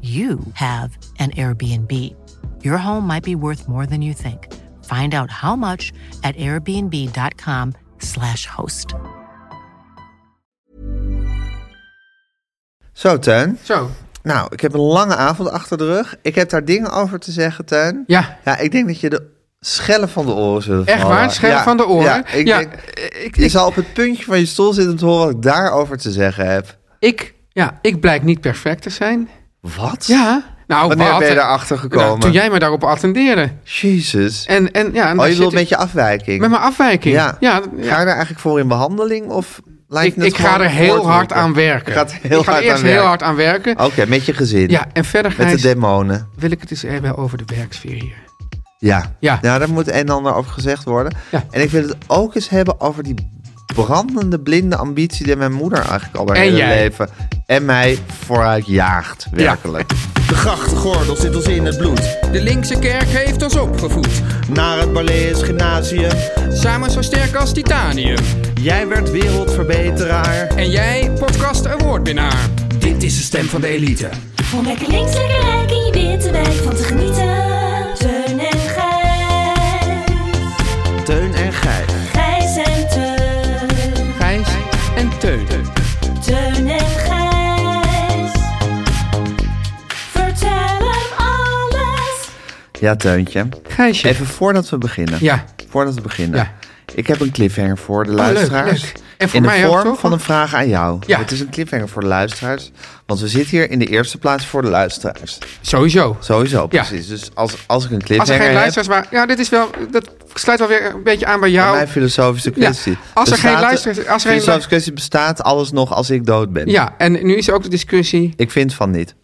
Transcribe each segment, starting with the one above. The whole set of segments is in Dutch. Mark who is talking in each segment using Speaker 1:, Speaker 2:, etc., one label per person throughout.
Speaker 1: you have an Airbnb. Your home might be worth more than you think. Find out how much at airbnb.com/slash host.
Speaker 2: Zo, Teun.
Speaker 3: Zo.
Speaker 2: Nou, ik heb een lange avond achter de rug. Ik heb daar dingen over te zeggen, Teun.
Speaker 3: Ja.
Speaker 2: Ja, ik denk dat je de schellen van de oren zullen
Speaker 3: Echt
Speaker 2: vallen.
Speaker 3: waar? Scherp
Speaker 2: Ja,
Speaker 3: van de oren?
Speaker 2: Ja, ik denk-
Speaker 3: ik,
Speaker 2: je
Speaker 3: ik,
Speaker 2: zal op het puntje van je stoel zitten om te horen wat ik daarover te zeggen heb.
Speaker 3: ik- ja, ik blijk niet perfect te zijn.
Speaker 2: Wat?
Speaker 3: Ja. Nou,
Speaker 2: Wanneer
Speaker 3: wat-
Speaker 2: ben je daarachter gekomen?
Speaker 3: Nou, toen jij me daarop attendeerde.
Speaker 2: Jezus.
Speaker 3: En, en, ja, en
Speaker 2: oh,
Speaker 3: daar
Speaker 2: je
Speaker 3: zit
Speaker 2: wilt
Speaker 3: ik-
Speaker 2: met je afwijking?
Speaker 3: Met mijn afwijking.
Speaker 2: Ja.
Speaker 3: ja,
Speaker 2: Ga je daar eigenlijk voor in behandeling? Of lijkt
Speaker 3: ik,
Speaker 2: het
Speaker 3: ik ga
Speaker 2: gewoon
Speaker 3: er heel hard
Speaker 2: voortdrukken?
Speaker 3: aan werken.
Speaker 2: Je gaat er heel
Speaker 3: ik ga
Speaker 2: hard
Speaker 3: er eerst
Speaker 2: aan
Speaker 3: heel
Speaker 2: werken.
Speaker 3: hard aan werken.
Speaker 2: Oké, met je gezin.
Speaker 3: Ja, en verder
Speaker 2: met de
Speaker 3: Gijs,
Speaker 2: demonen.
Speaker 3: wil ik het eens hebben over de werksfeer hier.
Speaker 2: Ja.
Speaker 3: Ja.
Speaker 2: Nou, daar moet een en ander over gezegd worden.
Speaker 3: Ja.
Speaker 2: En ik wil het ook eens hebben over die brandende blinde ambitie die mijn moeder eigenlijk al haar
Speaker 3: En
Speaker 2: hele
Speaker 3: jij.
Speaker 2: leven en mij vooruit jaagt, werkelijk.
Speaker 4: De grachtgordel zit ons in het bloed.
Speaker 5: De linkse kerk heeft ons opgevoed,
Speaker 4: Naar het Balees Gymnasium.
Speaker 5: samen zo sterk als titanium.
Speaker 4: Jij werd wereldverbeteraar.
Speaker 5: En jij, podcast awardwinnaar.
Speaker 6: Dit is de stem van de elite.
Speaker 7: Om lekker links, lekker rijk in je witte wijk van te genieten. Teun en Gijs.
Speaker 4: Teun en Gijs.
Speaker 7: Gijs en Teun.
Speaker 5: Gijs en Teun.
Speaker 7: Teun en Gijs. Vertel hem alles.
Speaker 2: Ja, Teuntje.
Speaker 3: Gijsje.
Speaker 2: Even voordat we beginnen.
Speaker 3: Ja.
Speaker 2: Voordat we beginnen.
Speaker 3: Ja, Oh,
Speaker 2: Ik heb een cliffhanger voor de
Speaker 3: leuk,
Speaker 2: luisteraars.
Speaker 3: leuk. En voor
Speaker 2: in
Speaker 3: mij
Speaker 2: de
Speaker 3: ook,
Speaker 2: vorm
Speaker 3: toch?
Speaker 2: van een vraag aan jou.
Speaker 3: Ja.
Speaker 2: Het is een cliffhanger voor de luisteraars. Want we zitten hier in de eerste plaats voor de luisteraars.
Speaker 3: sowieso.
Speaker 2: Sowieso, precies. Dus als, als ik een
Speaker 3: Als er
Speaker 2: cliffhanger
Speaker 3: geen
Speaker 2: heb...
Speaker 3: luisteraars waren... Ja, dit is wel... Dat sluit wel weer een beetje aan bij
Speaker 2: Bij
Speaker 3: jou.
Speaker 2: mijn filosofische kwestie.
Speaker 3: Ja, als er geen luisteraars- als er geen
Speaker 2: filosofische
Speaker 3: lu-
Speaker 2: kwestie bestaat alles nog als ik dood ben.
Speaker 3: Ja, en nu is er ook de discussie...
Speaker 2: Ik vind van niet.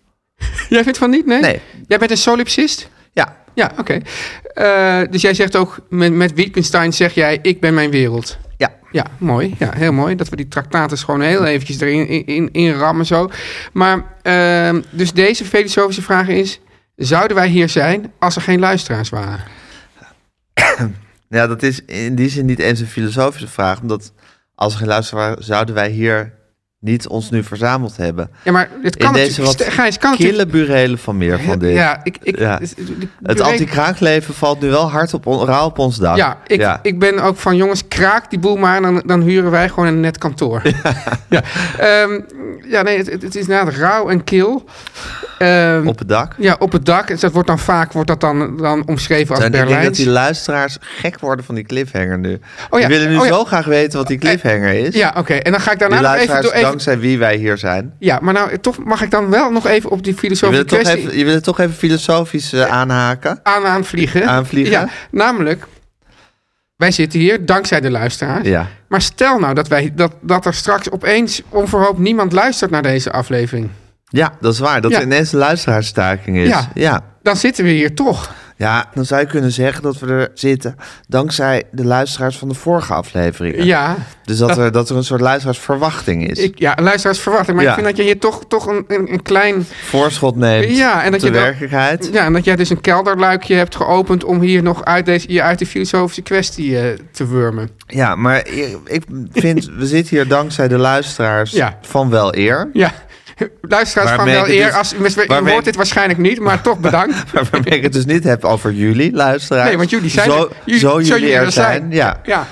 Speaker 3: Jij vindt van niet, nee?
Speaker 2: Nee.
Speaker 3: Jij bent een solipsist?
Speaker 2: Ja,
Speaker 3: Ja, oké. Eh, dus jij zegt ook, met, met Wittgenstein zeg jij, ik ben mijn wereld.
Speaker 2: ja.
Speaker 3: Ja, mooi. Ja, heel mooi. Dat we die tractatus gewoon heel eventjes erin in, in, in rammen zo. Maar, ehm, dus deze filosofische vraag is... Zouden wij hier zijn als er geen luisteraars waren?
Speaker 2: Ja, dat is in die zin niet eens een filosofische vraag. Omdat als er geen luisteraar waren, zouden wij hier niet ons nu verzameld hebben.
Speaker 3: Ja, maar het kan
Speaker 2: in deze
Speaker 3: natuurlijk...
Speaker 2: wat
Speaker 3: Ste- Gijs, kan
Speaker 2: kille
Speaker 3: natuurlijk...
Speaker 2: burelen van meer van dit.
Speaker 3: Ja, ik... ik
Speaker 2: Ja.
Speaker 3: Het,
Speaker 2: Het anti-kraakleven valt nu wel hard op, on, raar op ons dak.
Speaker 3: Ja ik, ik ben ook van jongens, kraak die boel maar, dan, dan huren wij gewoon een net kantoor. Ja, ja. Ehm, ja nee, het, het- het is inderdaad rauw en kil. Ehm,
Speaker 2: op het dak.
Speaker 3: ja, op het dak. Dus dat wordt dan vaak wordt dat dan, dan omschreven als
Speaker 2: En ik denk dat
Speaker 3: Berlijn.
Speaker 2: die luisteraars gek worden van die cliffhanger nu.
Speaker 3: ja.
Speaker 2: Die willen nu
Speaker 3: Oh ja.
Speaker 2: zo graag weten wat die cliffhanger is.
Speaker 3: Ja, oké. En dan ga ik
Speaker 2: die
Speaker 3: daarna nog even,
Speaker 2: luisteraars,
Speaker 3: door, even...
Speaker 2: dankzij wie wij hier zijn.
Speaker 3: Ja, maar nou, toch mag ik dan wel nog even op die
Speaker 2: Je wil,
Speaker 3: filosofische
Speaker 2: het toch
Speaker 3: kwestie
Speaker 2: even, je wil het toch even filosofisch eh, aanhaken?
Speaker 3: aan aanvliegen.
Speaker 2: Aanvliegen.
Speaker 3: Ja, namelijk, wij zitten hier dankzij de luisteraars.
Speaker 2: Ja.
Speaker 3: Maar stel nou dat, wij, dat, dat er straks opeens onverhoopt niemand luistert naar deze aflevering.
Speaker 2: Ja, dat is waar. Dat
Speaker 3: Ja.
Speaker 2: er ineens een luisteraarstaking is.
Speaker 3: Ja.
Speaker 2: ja.
Speaker 3: Dan zitten we hier toch.
Speaker 2: Ja, dan zou je kunnen zeggen dat we er zitten dankzij de luisteraars van de vorige afleveringen.
Speaker 3: Ja,
Speaker 2: Dus dat, er, dat er een soort luisteraarsverwachting is.
Speaker 3: ik, ja luisteraars verwachten. Maar
Speaker 2: Ja.
Speaker 3: ik vind dat je hier toch, toch een, een, een klein...
Speaker 2: Voorschot neemt
Speaker 3: Ja, en dat
Speaker 2: op de
Speaker 3: je dan-
Speaker 2: werkelijkheid.
Speaker 3: Ja, en dat jij dus een kelderluikje hebt geopend om hier nog uit, deze, je uit de filosofische kwestie eh, te wurmen.
Speaker 2: Ja, maar ik ik vind, we zitten hier dankzij de luisteraars
Speaker 3: Ja.
Speaker 2: van wel eer.
Speaker 3: Ja, luisteraars
Speaker 2: Waarmee
Speaker 3: van
Speaker 2: ik
Speaker 3: wel
Speaker 2: het
Speaker 3: eer.
Speaker 2: dus-
Speaker 3: Als, je
Speaker 2: waarmee ik-
Speaker 3: hoort dit waarschijnlijk niet, maar toch bedankt.
Speaker 2: Waarmee ik het dus niet heb over jullie luisteraars.
Speaker 3: Nee, want jullie zijn
Speaker 2: zo,
Speaker 3: er. Jullie-
Speaker 2: zo
Speaker 3: zo
Speaker 2: jullie er zijn. Ja.
Speaker 3: Ja,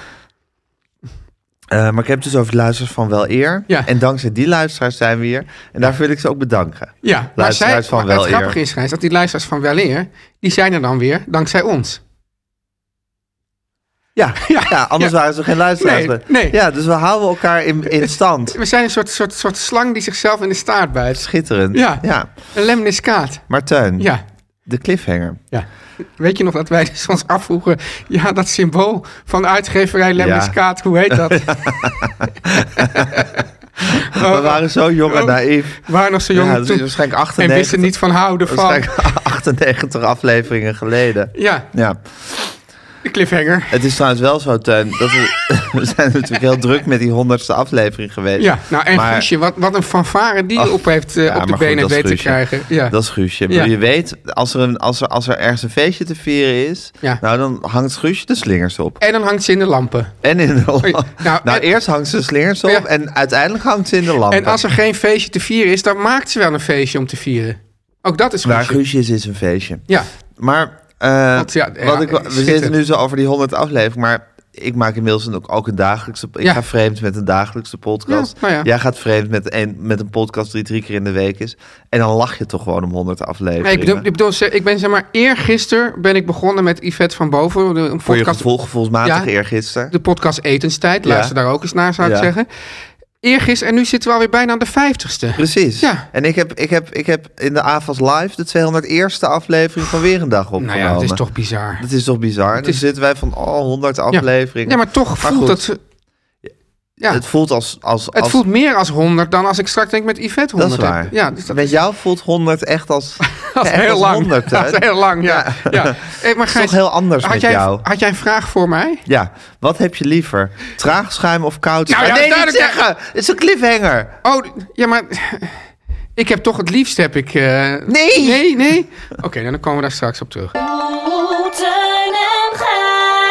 Speaker 2: Eh, maar ik heb het dus over de luisteraars van Wel Eer.
Speaker 3: Ja.
Speaker 2: En dankzij die luisteraars zijn we hier. En daarvoor wil ik ze ook bedanken.
Speaker 3: Ja, maar,
Speaker 2: Luisteraars
Speaker 3: zij,
Speaker 2: van
Speaker 3: maar
Speaker 2: Wel
Speaker 3: het grappige
Speaker 2: Eer.
Speaker 3: is, Gijs, dat die luisteraars van Weleer, die zijn er dan weer dankzij ons.
Speaker 2: Ja, ja. anders waren ze geen luisteraars.
Speaker 3: Nee, nee.
Speaker 2: Ja, dus we houden elkaar in, in stand.
Speaker 3: We zijn een soort, soort, soort slang die zichzelf in de staart bijt.
Speaker 2: Schitterend.
Speaker 3: Ja.
Speaker 2: ja.
Speaker 3: Een lemniskaat.
Speaker 2: Maar Teun,
Speaker 3: Ja.
Speaker 2: de cliffhanger.
Speaker 3: ja. Weet je nog dat wij dus ons afvroegen, ja, dat symbool van uitgeverij lemniskaat, hoe heet dat?
Speaker 2: we waren zo jong en
Speaker 3: oh.
Speaker 2: naïef.
Speaker 3: We waren nog zo jong
Speaker 2: Ja, dat is
Speaker 3: toen
Speaker 2: waarschijnlijk
Speaker 3: en
Speaker 2: 98.
Speaker 3: wisten niet van houden van.
Speaker 2: waarschijnlijk 98 afleveringen geleden.
Speaker 3: Ja,
Speaker 2: Ja,
Speaker 3: de cliffhanger.
Speaker 2: het is trouwens wel zo, Teun. Dat we, we zijn natuurlijk heel druk met die honderdste aflevering geweest.
Speaker 3: Ja, nou en
Speaker 2: Maar-
Speaker 3: Guusje, wat, wat een fanfare die
Speaker 2: Ach,
Speaker 3: op heeft eh,
Speaker 2: ja,
Speaker 3: op
Speaker 2: maar
Speaker 3: de
Speaker 2: goed,
Speaker 3: benen
Speaker 2: dat is
Speaker 3: weten te
Speaker 2: Guusje.
Speaker 3: krijgen. Ja.
Speaker 2: Dat is Guusje. Ik
Speaker 3: Ja.
Speaker 2: bedoel, Je weet, als er, een, als, er, als er ergens een feestje te vieren is,
Speaker 3: Ja.
Speaker 2: nou dan hangt Guusje de slingers op.
Speaker 3: En dan hangt ze in de lampen.
Speaker 2: En in de Nou,
Speaker 3: nou, en-
Speaker 2: eerst hangt ze de slingers op
Speaker 3: Ja.
Speaker 2: en uiteindelijk hangt ze in de lampen.
Speaker 3: En als er geen feestje te vieren is, dan maakt ze wel een feestje om te vieren. Ook dat is
Speaker 2: Waar
Speaker 3: goed.
Speaker 2: Guusje is, is een feestje.
Speaker 3: Ja,
Speaker 2: Maar eh,
Speaker 3: Want ja, ja,
Speaker 2: wat ik,
Speaker 3: eh,
Speaker 2: we
Speaker 3: schitterend.
Speaker 2: zitten nu zo over die 100 afleveringen, maar ik maak inmiddels ook, ook een dagelijkse. Ik
Speaker 3: Ja.
Speaker 2: ga vreemd met een dagelijkse podcast.
Speaker 3: Ja, nou ja.
Speaker 2: Jij gaat vreemd met een, met een podcast die drie keer in de week is. En dan lach je toch gewoon om 100 afleveringen.
Speaker 3: Nee, ik, bedoel, ik, bedoel, ze- ik ben zeg maar eergisteren ben ik begonnen met Yvette van Boven. de- Een
Speaker 2: Voor je
Speaker 3: podcast,
Speaker 2: gevoel, gevoelsmatig
Speaker 3: Ja.
Speaker 2: eergisteren.
Speaker 3: de podcast Etenstijd.
Speaker 2: Ja.
Speaker 3: Luister daar ook eens naar, zou ik
Speaker 2: Ja.
Speaker 3: zeggen. Eergisteren, en nu zitten we alweer bijna aan de vijftigste.
Speaker 2: Precies.
Speaker 3: Ja.
Speaker 2: En ik heb, ik, heb, ik heb in de AFAS Live de 201ste aflevering van Weer een Dag opgenomen.
Speaker 3: Nou ja, dat is toch bizar.
Speaker 2: Dat is toch bizar? Dan
Speaker 3: is-
Speaker 2: zitten wij van al 100 afleveringen.
Speaker 3: Ja, maar toch voelt
Speaker 2: goed,
Speaker 3: dat... ze- Ja,
Speaker 2: Het
Speaker 3: het,
Speaker 2: voelt als... als, als
Speaker 3: voelt meer als 100 dan als ik straks denk met Yvette 100.
Speaker 2: dat is
Speaker 3: heb.
Speaker 2: waar.
Speaker 3: Ja, dus dat
Speaker 2: Met jou voelt 100 echt als,
Speaker 3: is
Speaker 2: echt
Speaker 3: heel
Speaker 2: als
Speaker 3: lang.
Speaker 2: 100, hè?
Speaker 3: dat is heel lang, ja. ja. Hey, maar
Speaker 2: Dat is
Speaker 3: Gijs,
Speaker 2: toch heel anders
Speaker 3: had
Speaker 2: met
Speaker 3: jij,
Speaker 2: jou?
Speaker 3: had jij een vraag voor mij?
Speaker 2: Ja, wat heb je liever? Traag schuim of koud
Speaker 3: Nou
Speaker 2: schuim?
Speaker 3: ja,
Speaker 2: nee, niet
Speaker 3: duidelijk-
Speaker 2: zeggen! Het is een cliffhanger!
Speaker 3: Oh, ja, maar ik heb toch het liefst heb ik... eh,
Speaker 2: Nee!
Speaker 3: Nee, nee. Oké, nou, dan komen we daar straks op terug.
Speaker 7: Oh, Teun en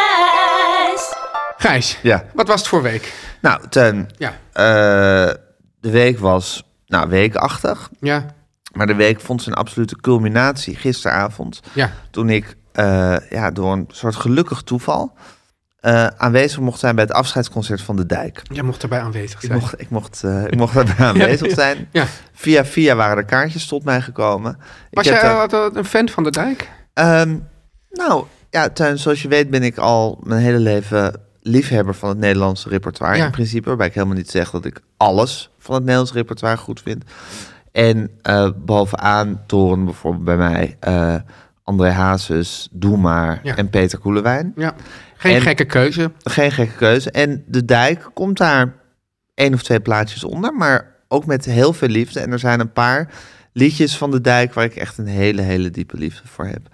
Speaker 7: Gijs.
Speaker 3: Gijs,
Speaker 2: Ja.
Speaker 3: wat was het voor week?
Speaker 2: Nou, ten,
Speaker 3: Ja,
Speaker 2: de week was nou, weekachtig.
Speaker 3: ja,
Speaker 2: Maar de week vond zijn absolute culminatie gisteravond.
Speaker 3: ja.
Speaker 2: Toen ik eh, ja, door een soort gelukkig toeval eh, aanwezig mocht zijn bij het afscheidsconcert van de Dijk.
Speaker 3: Jij mocht daarbij aanwezig
Speaker 2: Ik
Speaker 3: zijn.
Speaker 2: mocht, ik mocht, eh, ik mocht daarbij aanwezig zijn.
Speaker 3: Ja.
Speaker 2: Via via waren de kaartjes tot mij gekomen.
Speaker 3: Was
Speaker 2: ik heb
Speaker 3: jij
Speaker 2: daar-
Speaker 3: altijd een fan van de dijk?
Speaker 2: Ehm, nou, ja, Tuin, zoals je weet ben ik al mijn hele leven liefhebber van het Nederlandse repertoire.
Speaker 3: Ja.
Speaker 2: In principe, waarbij ik helemaal niet zeg dat ik alles van het Nederlands repertoire goed vind. En eh, bovenaan toren bijvoorbeeld bij mij eh, André Hazes, Doe Maar
Speaker 3: Ja.
Speaker 2: en Peter Koelewijn.
Speaker 3: Ja. Geen
Speaker 2: En-
Speaker 3: gekke keuze.
Speaker 2: Geen gekke keuze. En De Dijk komt daar één of twee plaatjes onder, maar ook met heel veel liefde. En er zijn een paar liedjes van De Dijk waar ik echt een hele, hele diepe liefde voor heb.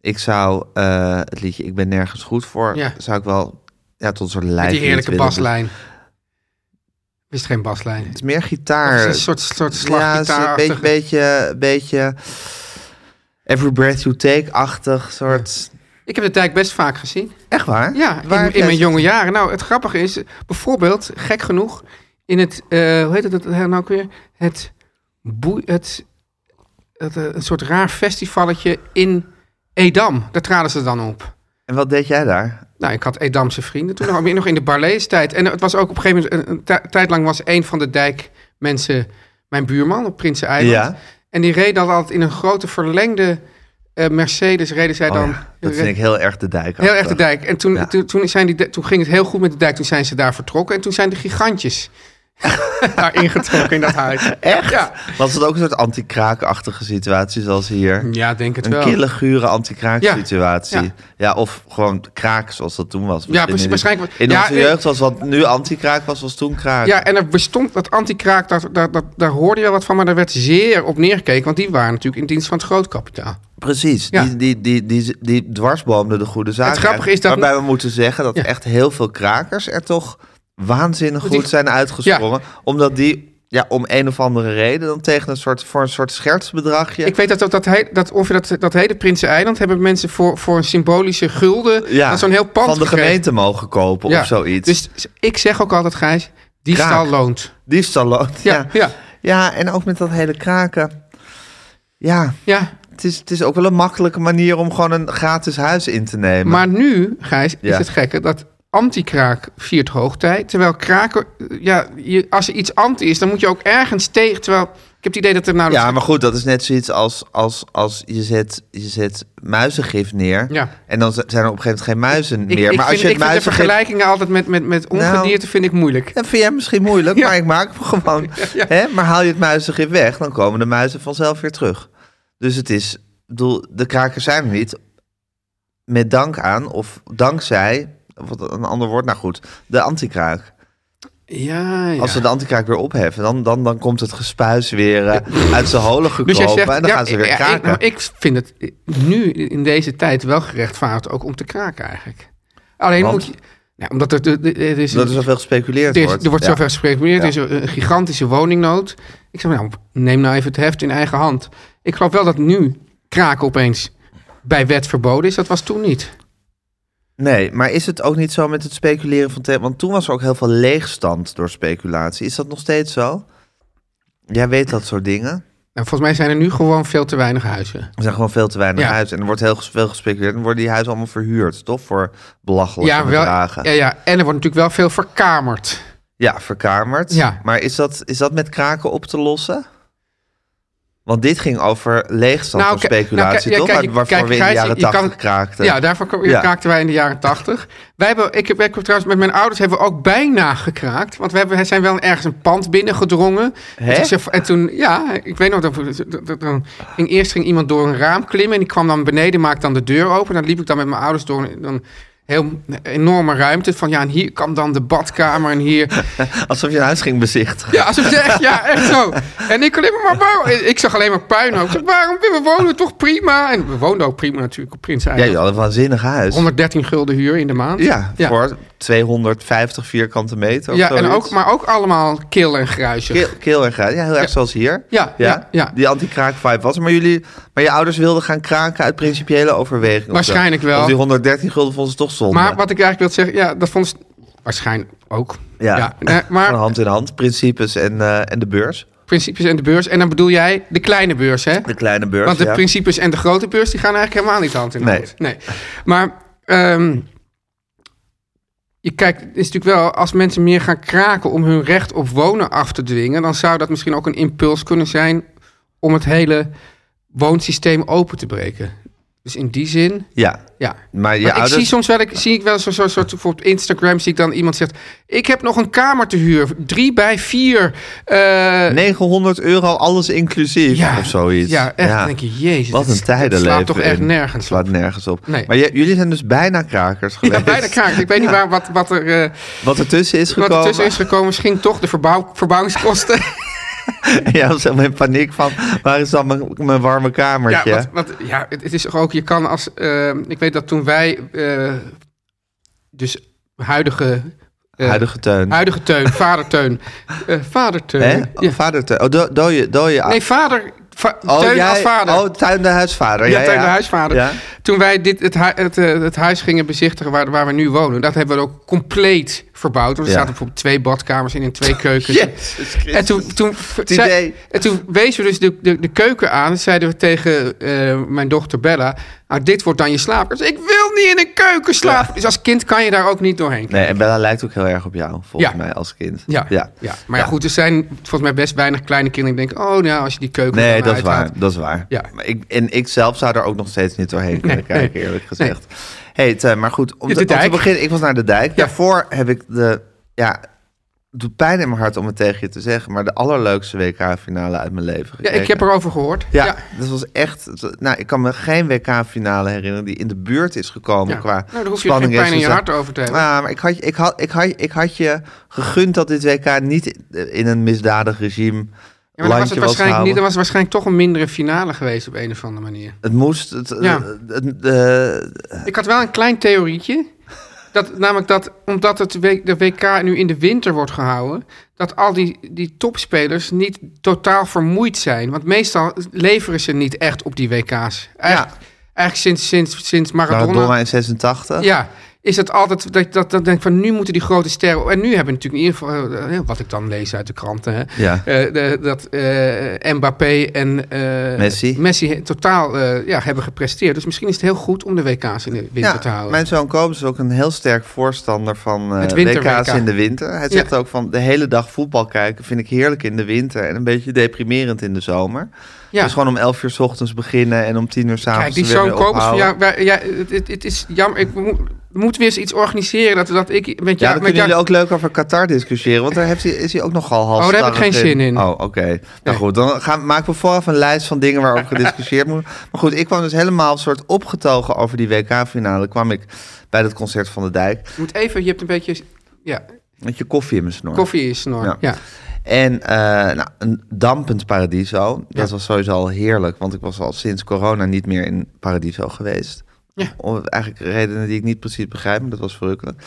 Speaker 2: Ik zou eh, het liedje Ik ben nergens goed voor,
Speaker 3: Ja.
Speaker 2: zou ik wel ja, tot een soort lijf.
Speaker 3: Met die heerlijke baslijn. Wist geen baslijn.
Speaker 2: Het is meer
Speaker 3: Het is
Speaker 2: gitaar.
Speaker 3: een soort, soort
Speaker 2: Ja, het is een
Speaker 3: slaggitaar.
Speaker 2: beetje, beetje, beetje Every Breath You Take-achtig soort.
Speaker 3: Ik heb de dijk best vaak gezien.
Speaker 2: Echt waar?
Speaker 3: Ja,
Speaker 2: Waar heb
Speaker 3: in, in
Speaker 2: jij
Speaker 3: mijn
Speaker 2: ze-
Speaker 3: jonge jaren. Nou, het grappige is, bijvoorbeeld, gek genoeg, in het, eh, hoe heet het nou ook weer? Het, boe, het, het, eh, een soort raar festivalletje in Edam. Daar traden ze dan op.
Speaker 2: En wat deed jij daar? Oh
Speaker 3: Nou, ik had Edamse vrienden toen nog, nog in de Barlees-tijd. En het was ook op een gegeven moment, een, een ti- tijd lang was een van de dijkmensen mijn buurman op Prinseneiland.
Speaker 2: Ja.
Speaker 3: En die reed dan altijd in een grote verlengde eh, Mercedes, reden zij
Speaker 2: Oh
Speaker 3: dan...
Speaker 2: ja, dat vind ik heel erg de dijk.
Speaker 3: Heel erg de dijk. En toen,
Speaker 2: Ja.
Speaker 3: toen, toen, zijn die, de- toen ging het heel goed met de dijk. Toen zijn ze daar vertrokken. En toen zijn de gigantjes daar ingetrokken in dat huis.
Speaker 2: Echt?
Speaker 3: Ja.
Speaker 2: Was het ook een soort anti-kraakachtige situatie zoals hier?
Speaker 3: Ja, denk het
Speaker 2: Een
Speaker 3: wel.
Speaker 2: kille, gure anti-kraak
Speaker 3: Ja.
Speaker 2: situatie.
Speaker 3: Ja.
Speaker 2: Ja. of gewoon kraak zoals dat toen was.
Speaker 3: Ja,
Speaker 2: Misschien
Speaker 3: precies,
Speaker 2: in-
Speaker 3: waarschijnlijk-
Speaker 2: In
Speaker 3: ja,
Speaker 2: onze
Speaker 3: ik-
Speaker 2: jeugd was wat nu anti-kraak was, was toen kraak.
Speaker 3: Ja, eh, en er bestond dat antikraak, daar, daar, daar, daar hoorde je wel wat van, maar daar werd zeer op neergekeken, want die waren natuurlijk in dienst van het grootkapitaal.
Speaker 2: Precies.
Speaker 3: Ja.
Speaker 2: Die, die, die, die, die dwarsboomde de goede zaak.
Speaker 3: grappige is dat-
Speaker 2: Waarbij we moeten zeggen dat
Speaker 3: Ja.
Speaker 2: echt heel veel krakers er toch waanzinnig
Speaker 3: die-
Speaker 2: goed zijn uitgesprongen. Omdat die ja, om een of andere reden dan tegen een soort, voor een soort schertsbedragje...
Speaker 3: Ik weet dat, dat, dat, he- dat ongeveer dat, dat hele Prinseneiland hebben mensen voor, voor een symbolische gulden
Speaker 2: ja,
Speaker 3: aan zo'n heel pand
Speaker 2: van de
Speaker 3: gegeven.
Speaker 2: gemeente mogen kopen
Speaker 3: Ja.
Speaker 2: of zoiets.
Speaker 3: Dus ik zeg ook altijd, Gijs, die
Speaker 2: Kraak.
Speaker 3: staal loont.
Speaker 2: Diefstal loont,
Speaker 3: Ja,
Speaker 2: Ja.
Speaker 3: ja.
Speaker 2: Ja. en ook met dat hele kraken. Ja,
Speaker 3: Ja,
Speaker 2: het is, het is ook wel een makkelijke manier om gewoon een gratis huis in te nemen.
Speaker 3: maar nu, Gijs,
Speaker 2: Ja.
Speaker 3: is het gekke dat anti-kraak viert hoogtijd. Terwijl kraken, eh, ja, je, als er iets anti is, dan moet je ook ergens tegen. Terwijl ik heb het idee dat er nou.
Speaker 2: Ja, maar goed, dat is net zoiets als, als, als je, zet, je zet muizengif neer.
Speaker 3: Ja.
Speaker 2: En dan z- zijn er op een gegeven moment geen muizen
Speaker 3: ik,
Speaker 2: meer.
Speaker 3: ik
Speaker 2: maar als
Speaker 3: vind,
Speaker 2: je
Speaker 3: ik
Speaker 2: het Nou.
Speaker 3: vind de
Speaker 2: muizengif...
Speaker 3: vergelijkingen altijd met, met, met ongedierte vind ik moeilijk.
Speaker 2: Dat vind jij misschien moeilijk,
Speaker 3: Ja.
Speaker 2: maar ik maak hem gewoon. Hè? Maar haal je het muizengif weg, dan komen de muizen vanzelf weer terug. Dus het is, ik bedoel, de krakers zijn er niet met dank aan of dankzij, of wat een ander woord, nou goed, de antikraak.
Speaker 3: Ja, ja.
Speaker 2: Als we de antikraak weer opheffen, dan, dan, dan komt het gespuis weer eh, uit zijn holen gekropen en dan
Speaker 3: Dus ja,
Speaker 2: gaan ze weer
Speaker 3: ja, ik-
Speaker 2: kraken.
Speaker 3: maar ik vind het nu in deze tijd wel gerechtvaardigd ook om te kraken eigenlijk. Alleen
Speaker 2: Want?
Speaker 3: moet je... Nou, omdat er, er, er- er is
Speaker 2: dat
Speaker 3: een-
Speaker 2: er zoveel gespeculeerd
Speaker 3: er, is-
Speaker 2: wordt.
Speaker 3: er wordt
Speaker 2: Ja.
Speaker 3: zoveel gespreculeerd.
Speaker 2: Ja.
Speaker 3: Er is een, een gigantische woningnood. Ik zeg, nou, neem nou even het heft in eigen hand. Ik geloof wel dat nu kraken opeens bij wet verboden is. Dat was toen niet.
Speaker 2: Nee, maar is het ook niet zo met het speculeren van thema? Want toen was er ook heel veel leegstand door speculatie. Is dat nog steeds zo? Jij weet dat soort dingen.
Speaker 3: Nou, volgens mij zijn er nu gewoon veel te weinig huizen.
Speaker 2: Er zijn gewoon veel te weinig
Speaker 3: Ja.
Speaker 2: huizen. En er wordt heel ges- veel gespeculeerd. En worden die huizen allemaal verhuurd, toch? Voor belachelijke
Speaker 3: Ja, wel, ja,
Speaker 2: bedragen.
Speaker 3: ja, en er wordt natuurlijk wel veel verkamerd.
Speaker 2: Ja, verkamerd.
Speaker 3: Ja.
Speaker 2: Maar is dat, is dat met kraken op te lossen? Want dit ging over leegstand
Speaker 3: Nou,
Speaker 2: door
Speaker 3: ki- nou,
Speaker 2: speculatie,
Speaker 3: ki- ja,
Speaker 2: toch?
Speaker 3: kijk,
Speaker 2: Waar- waarvoor
Speaker 3: kijk,
Speaker 2: we in de
Speaker 3: Gijs,
Speaker 2: jaren
Speaker 3: je kan-
Speaker 2: tachtig kraakten.
Speaker 3: Ja, daarvoor ko-
Speaker 2: Ja.
Speaker 3: kraakten wij in de jaren tachtig. Wij hebben, ik, heb, ik heb trouwens met mijn ouders hebben we ook bijna gekraakt. Want we hebben, zijn wel ergens een pand binnengedrongen.
Speaker 2: Hè?
Speaker 3: En toen, zei- en toen, ja, ik weet nog dat, we- dat- dat- dan ging, eerst ging iemand door een raam klimmen. En die kwam dan beneden, maakte dan de deur open. En dan liep ik dan met mijn ouders door een, dan heel een enorme ruimte. Van ja, en hier kwam dan de badkamer en hier...
Speaker 2: Alsof je een huis ging bezichtigen.
Speaker 3: Ja, alsof ze echt, ja, echt zo. En ik, kon alleen maar, waarom- ik zag alleen maar puinhoop. Ik zeg, Waarom? We wonen toch prima? En we woonden ook prima natuurlijk op Prins
Speaker 2: Jij
Speaker 3: Eiland.
Speaker 2: had een waanzinnig huis.
Speaker 3: 113 gulden huur in de maand.
Speaker 2: Ja,
Speaker 3: ja.
Speaker 2: voor 250 vierkante meter. of
Speaker 3: Ja, en
Speaker 2: zoiets.
Speaker 3: ook, maar ook allemaal kil en gruisig.
Speaker 2: Keel, keel en graad. Ja, heel erg zoals hier.
Speaker 3: Ja, ja, ja.
Speaker 2: Die anti-kraak-vibe was er. Maar, jullie, maar je ouders wilden gaan kraken uit principiële overweging. of zo.
Speaker 3: Waarschijnlijk wel.
Speaker 2: Of die 113 gulden vonden ze toch zonde.
Speaker 3: maar wat ik eigenlijk wil zeggen, ja, dat vond ze waarschijnlijk ook.
Speaker 2: Ja,
Speaker 3: nee,
Speaker 2: Van
Speaker 3: eh, maar
Speaker 2: hand in hand. Principes en, eh, en de beurs.
Speaker 3: principes en de beurs. En dan bedoel jij de kleine beurs, hè?
Speaker 2: De kleine beurs,
Speaker 3: Want de
Speaker 2: ja.
Speaker 3: principes en de grote beurs, die gaan eigenlijk helemaal niet hand in
Speaker 2: Nee.
Speaker 3: hand. Nee. Maar ehm, je kijkt, het is natuurlijk wel, als mensen meer gaan kraken om hun recht op wonen af te dwingen, dan zou dat misschien ook een impuls kunnen zijn om het hele woonsysteem open te breken. Dus in die zin,
Speaker 2: Ja.
Speaker 3: ja.
Speaker 2: Maar je
Speaker 3: Maar ik
Speaker 2: ouders...
Speaker 3: zie soms wel, ik, zie ik wel zo'n zo, soort, bijvoorbeeld op Instagram zie ik dan iemand zegt, ik heb nog een kamer te huur, drie bij vier. eh,
Speaker 2: 900 euro, alles inclusief of zoiets.
Speaker 3: Ja, echt. Dan denk je, jezus.
Speaker 2: Wat
Speaker 3: het-
Speaker 2: een tijden
Speaker 3: het slaat
Speaker 2: leven
Speaker 3: toch echt
Speaker 2: in.
Speaker 3: nergens op.
Speaker 2: slaat nergens op.
Speaker 3: Nee.
Speaker 2: Maar j- jullie zijn dus bijna krakers geweest.
Speaker 3: Ja, bijna kraak. Ik weet niet waar, wat, wat er eh,
Speaker 2: Wat ertussen is
Speaker 3: wat
Speaker 2: gekomen.
Speaker 3: er tussen is gekomen. Misschien toch de verbouw, verbouwingskosten.
Speaker 2: Ja, was helemaal in paniek van, waar is dan mijn, mijn warme
Speaker 3: ja,
Speaker 2: kamertje?
Speaker 3: want, want, ja, het, het is toch ook, je kan als... eh, ik weet dat toen wij, eh, dus huidige... eh,
Speaker 2: Huidige teun.
Speaker 3: Huidige teun, vader teun. Eh, vader teun.
Speaker 2: Hè?
Speaker 3: Ja.
Speaker 2: Oh, vader teun. Oh, do, dooie, dooie.
Speaker 3: Nee, vader... va-
Speaker 2: oh,
Speaker 3: teun
Speaker 2: jij-
Speaker 3: als vader.
Speaker 2: Oh, tuin de huisvader.
Speaker 3: Ja,
Speaker 2: ja,
Speaker 3: tegen
Speaker 2: ja.
Speaker 3: de huisvader.
Speaker 2: Ja.
Speaker 3: Toen wij dit, het, hui- het, eh, het huis gingen bezichtigen waar, waar we nu wonen, dat hebben we ook compleet verbouwd. Want er
Speaker 2: Ja.
Speaker 3: zaten bijvoorbeeld twee badkamers in en twee keukens.
Speaker 2: Jezus Christus.
Speaker 3: En toen, toen, zei-
Speaker 2: idee.
Speaker 3: en toen wezen we dus de, de, de keuken aan en zeiden we tegen eh, mijn dochter Bella, nou dit wordt dan je slaapkamer. Ik wil niet in een keuken slapen. Dus als kind kan je daar ook niet doorheen.
Speaker 2: Nee, en Bella lijkt ook heel erg op jou, volgens
Speaker 3: Ja.
Speaker 2: mij, als kind.
Speaker 3: Ja, ja. maar ja, goed, er zijn volgens mij best weinig kleine kinderen die denken, oh nou, als je die keuken
Speaker 2: Nee,
Speaker 3: dan
Speaker 2: dat is
Speaker 3: uithaalt.
Speaker 2: waar. Dat is waar.
Speaker 3: Ja.
Speaker 2: Maar ik, en ik zelf zou er ook nog steeds niet doorheen kunnen
Speaker 3: Nee,
Speaker 2: kijken,
Speaker 3: nee.
Speaker 2: eerlijk gezegd. hey, Teun, maar goed. Om
Speaker 3: Ja,
Speaker 2: te, om
Speaker 3: de
Speaker 2: te
Speaker 3: dijk.
Speaker 2: beginnen, ik was naar de dijk.
Speaker 3: Ja.
Speaker 2: Daarvoor heb ik de... Ja, het doet pijn in mijn hart om het tegen je te zeggen... maar de allerleukste WK-finale uit mijn leven
Speaker 3: Ja,
Speaker 2: gekeken.
Speaker 3: ik heb erover gehoord.
Speaker 2: Ja, dat was echt. Nou, ik kan me geen WK-finale herinneren die in de buurt is gekomen
Speaker 3: Ja.
Speaker 2: qua
Speaker 3: Nou, daar hoef je
Speaker 2: spanning.
Speaker 3: geen pijn in je
Speaker 2: en zo.
Speaker 3: hart over te hebben.
Speaker 2: Ja, maar ik had, je- ik, had, ik, had, ik had je gegund dat dit WK niet in een misdadig regime
Speaker 3: Ja, maar dan was
Speaker 2: landje
Speaker 3: het
Speaker 2: was
Speaker 3: waarschijnlijk niet.
Speaker 2: gehouden.
Speaker 3: Dan was het waarschijnlijk toch een mindere finale geweest op een of andere manier.
Speaker 2: Het moest. Het,
Speaker 3: Ja.
Speaker 2: eh, het- eh,
Speaker 3: Ik had wel een klein theorietje. Dat, namelijk dat omdat het W- de WK nu in de winter wordt gehouden, dat al die, die topspelers niet totaal vermoeid zijn. Want meestal leveren ze niet echt op die WK's. Eigenlijk, eigenlijk sinds, sinds, sinds Maradona.
Speaker 2: Maradona in 86.
Speaker 3: Ja, is het altijd dat, dat, dat denk ik van nu moeten die grote sterren. En nu hebben we natuurlijk in ieder geval, eh, wat ik dan lees uit de kranten, hè,
Speaker 2: Ja.
Speaker 3: eh, de- dat eh, Mbappé en eh,
Speaker 2: Messi.
Speaker 3: he- totaal eh, ja, hebben gepresteerd. Dus misschien is het heel goed om de WK's in de winter te
Speaker 2: Ja,
Speaker 3: houden.
Speaker 2: mijn zoon Kobus is ook een heel sterk voorstander van eh,
Speaker 3: Het winter-
Speaker 2: WK's
Speaker 3: WK.
Speaker 2: in de winter. Hij zegt
Speaker 3: Ja.
Speaker 2: ook van de hele dag voetbal kijken vind ik heerlijk in de winter en een beetje deprimerend in de zomer.
Speaker 3: ja.
Speaker 2: Dus gewoon om 11 uur 's ochtends beginnen en om 10 uur 's
Speaker 3: Kijk,
Speaker 2: avonds
Speaker 3: die
Speaker 2: er weer
Speaker 3: zoon
Speaker 2: mee
Speaker 3: Kobus van
Speaker 2: ophouden.
Speaker 3: jou, wij- ja, het, het, het is jammer. Ik moet, moet weer eens iets organiseren dat, dat ik met
Speaker 2: Ja,
Speaker 3: jou...
Speaker 2: dan
Speaker 3: met
Speaker 2: kunnen
Speaker 3: jou
Speaker 2: jullie ook leuk over Qatar discussiëren, want daar heeft hij, is hij ook nogal half.
Speaker 3: Oh, daar heb ik geen zin in.
Speaker 2: Oh, oké.
Speaker 3: Nee.
Speaker 2: Nou goed, dan gaan, maken we vooraf een lijst van dingen waarover gediscussieerd moet worden. Maar goed, ik kwam dus helemaal soort opgetogen over die WK-finale. Kwam ik bij dat concert van de Dijk
Speaker 3: moet even, je hebt een beetje ja,
Speaker 2: met je koffie in mijn snor.
Speaker 3: koffie is snor. Ja.
Speaker 2: Ja. En eh, nou, een dampend Paradiso. Dat
Speaker 3: Ja.
Speaker 2: was sowieso al heerlijk, want ik was al sinds corona niet meer in Paradiso geweest.
Speaker 3: Ja.
Speaker 2: Om eigenlijk redenen die ik niet precies begrijp, maar dat was verrukkelijk.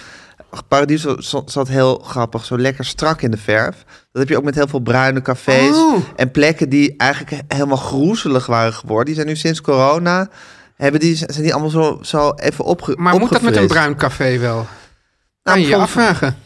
Speaker 2: Paradiso za- zat heel grappig, zo lekker strak in de verf. Dat heb je ook met heel veel bruine cafés
Speaker 3: Oh.
Speaker 2: en plekken die eigenlijk he- helemaal groezelig waren geworden. Die zijn nu sinds corona, hebben die, zijn die allemaal zo, zo even opge
Speaker 3: Maar moet dat met een
Speaker 2: opgefrist.
Speaker 3: bruin café wel?
Speaker 2: Nou,
Speaker 3: Kan je je
Speaker 2: voor-
Speaker 3: afvragen.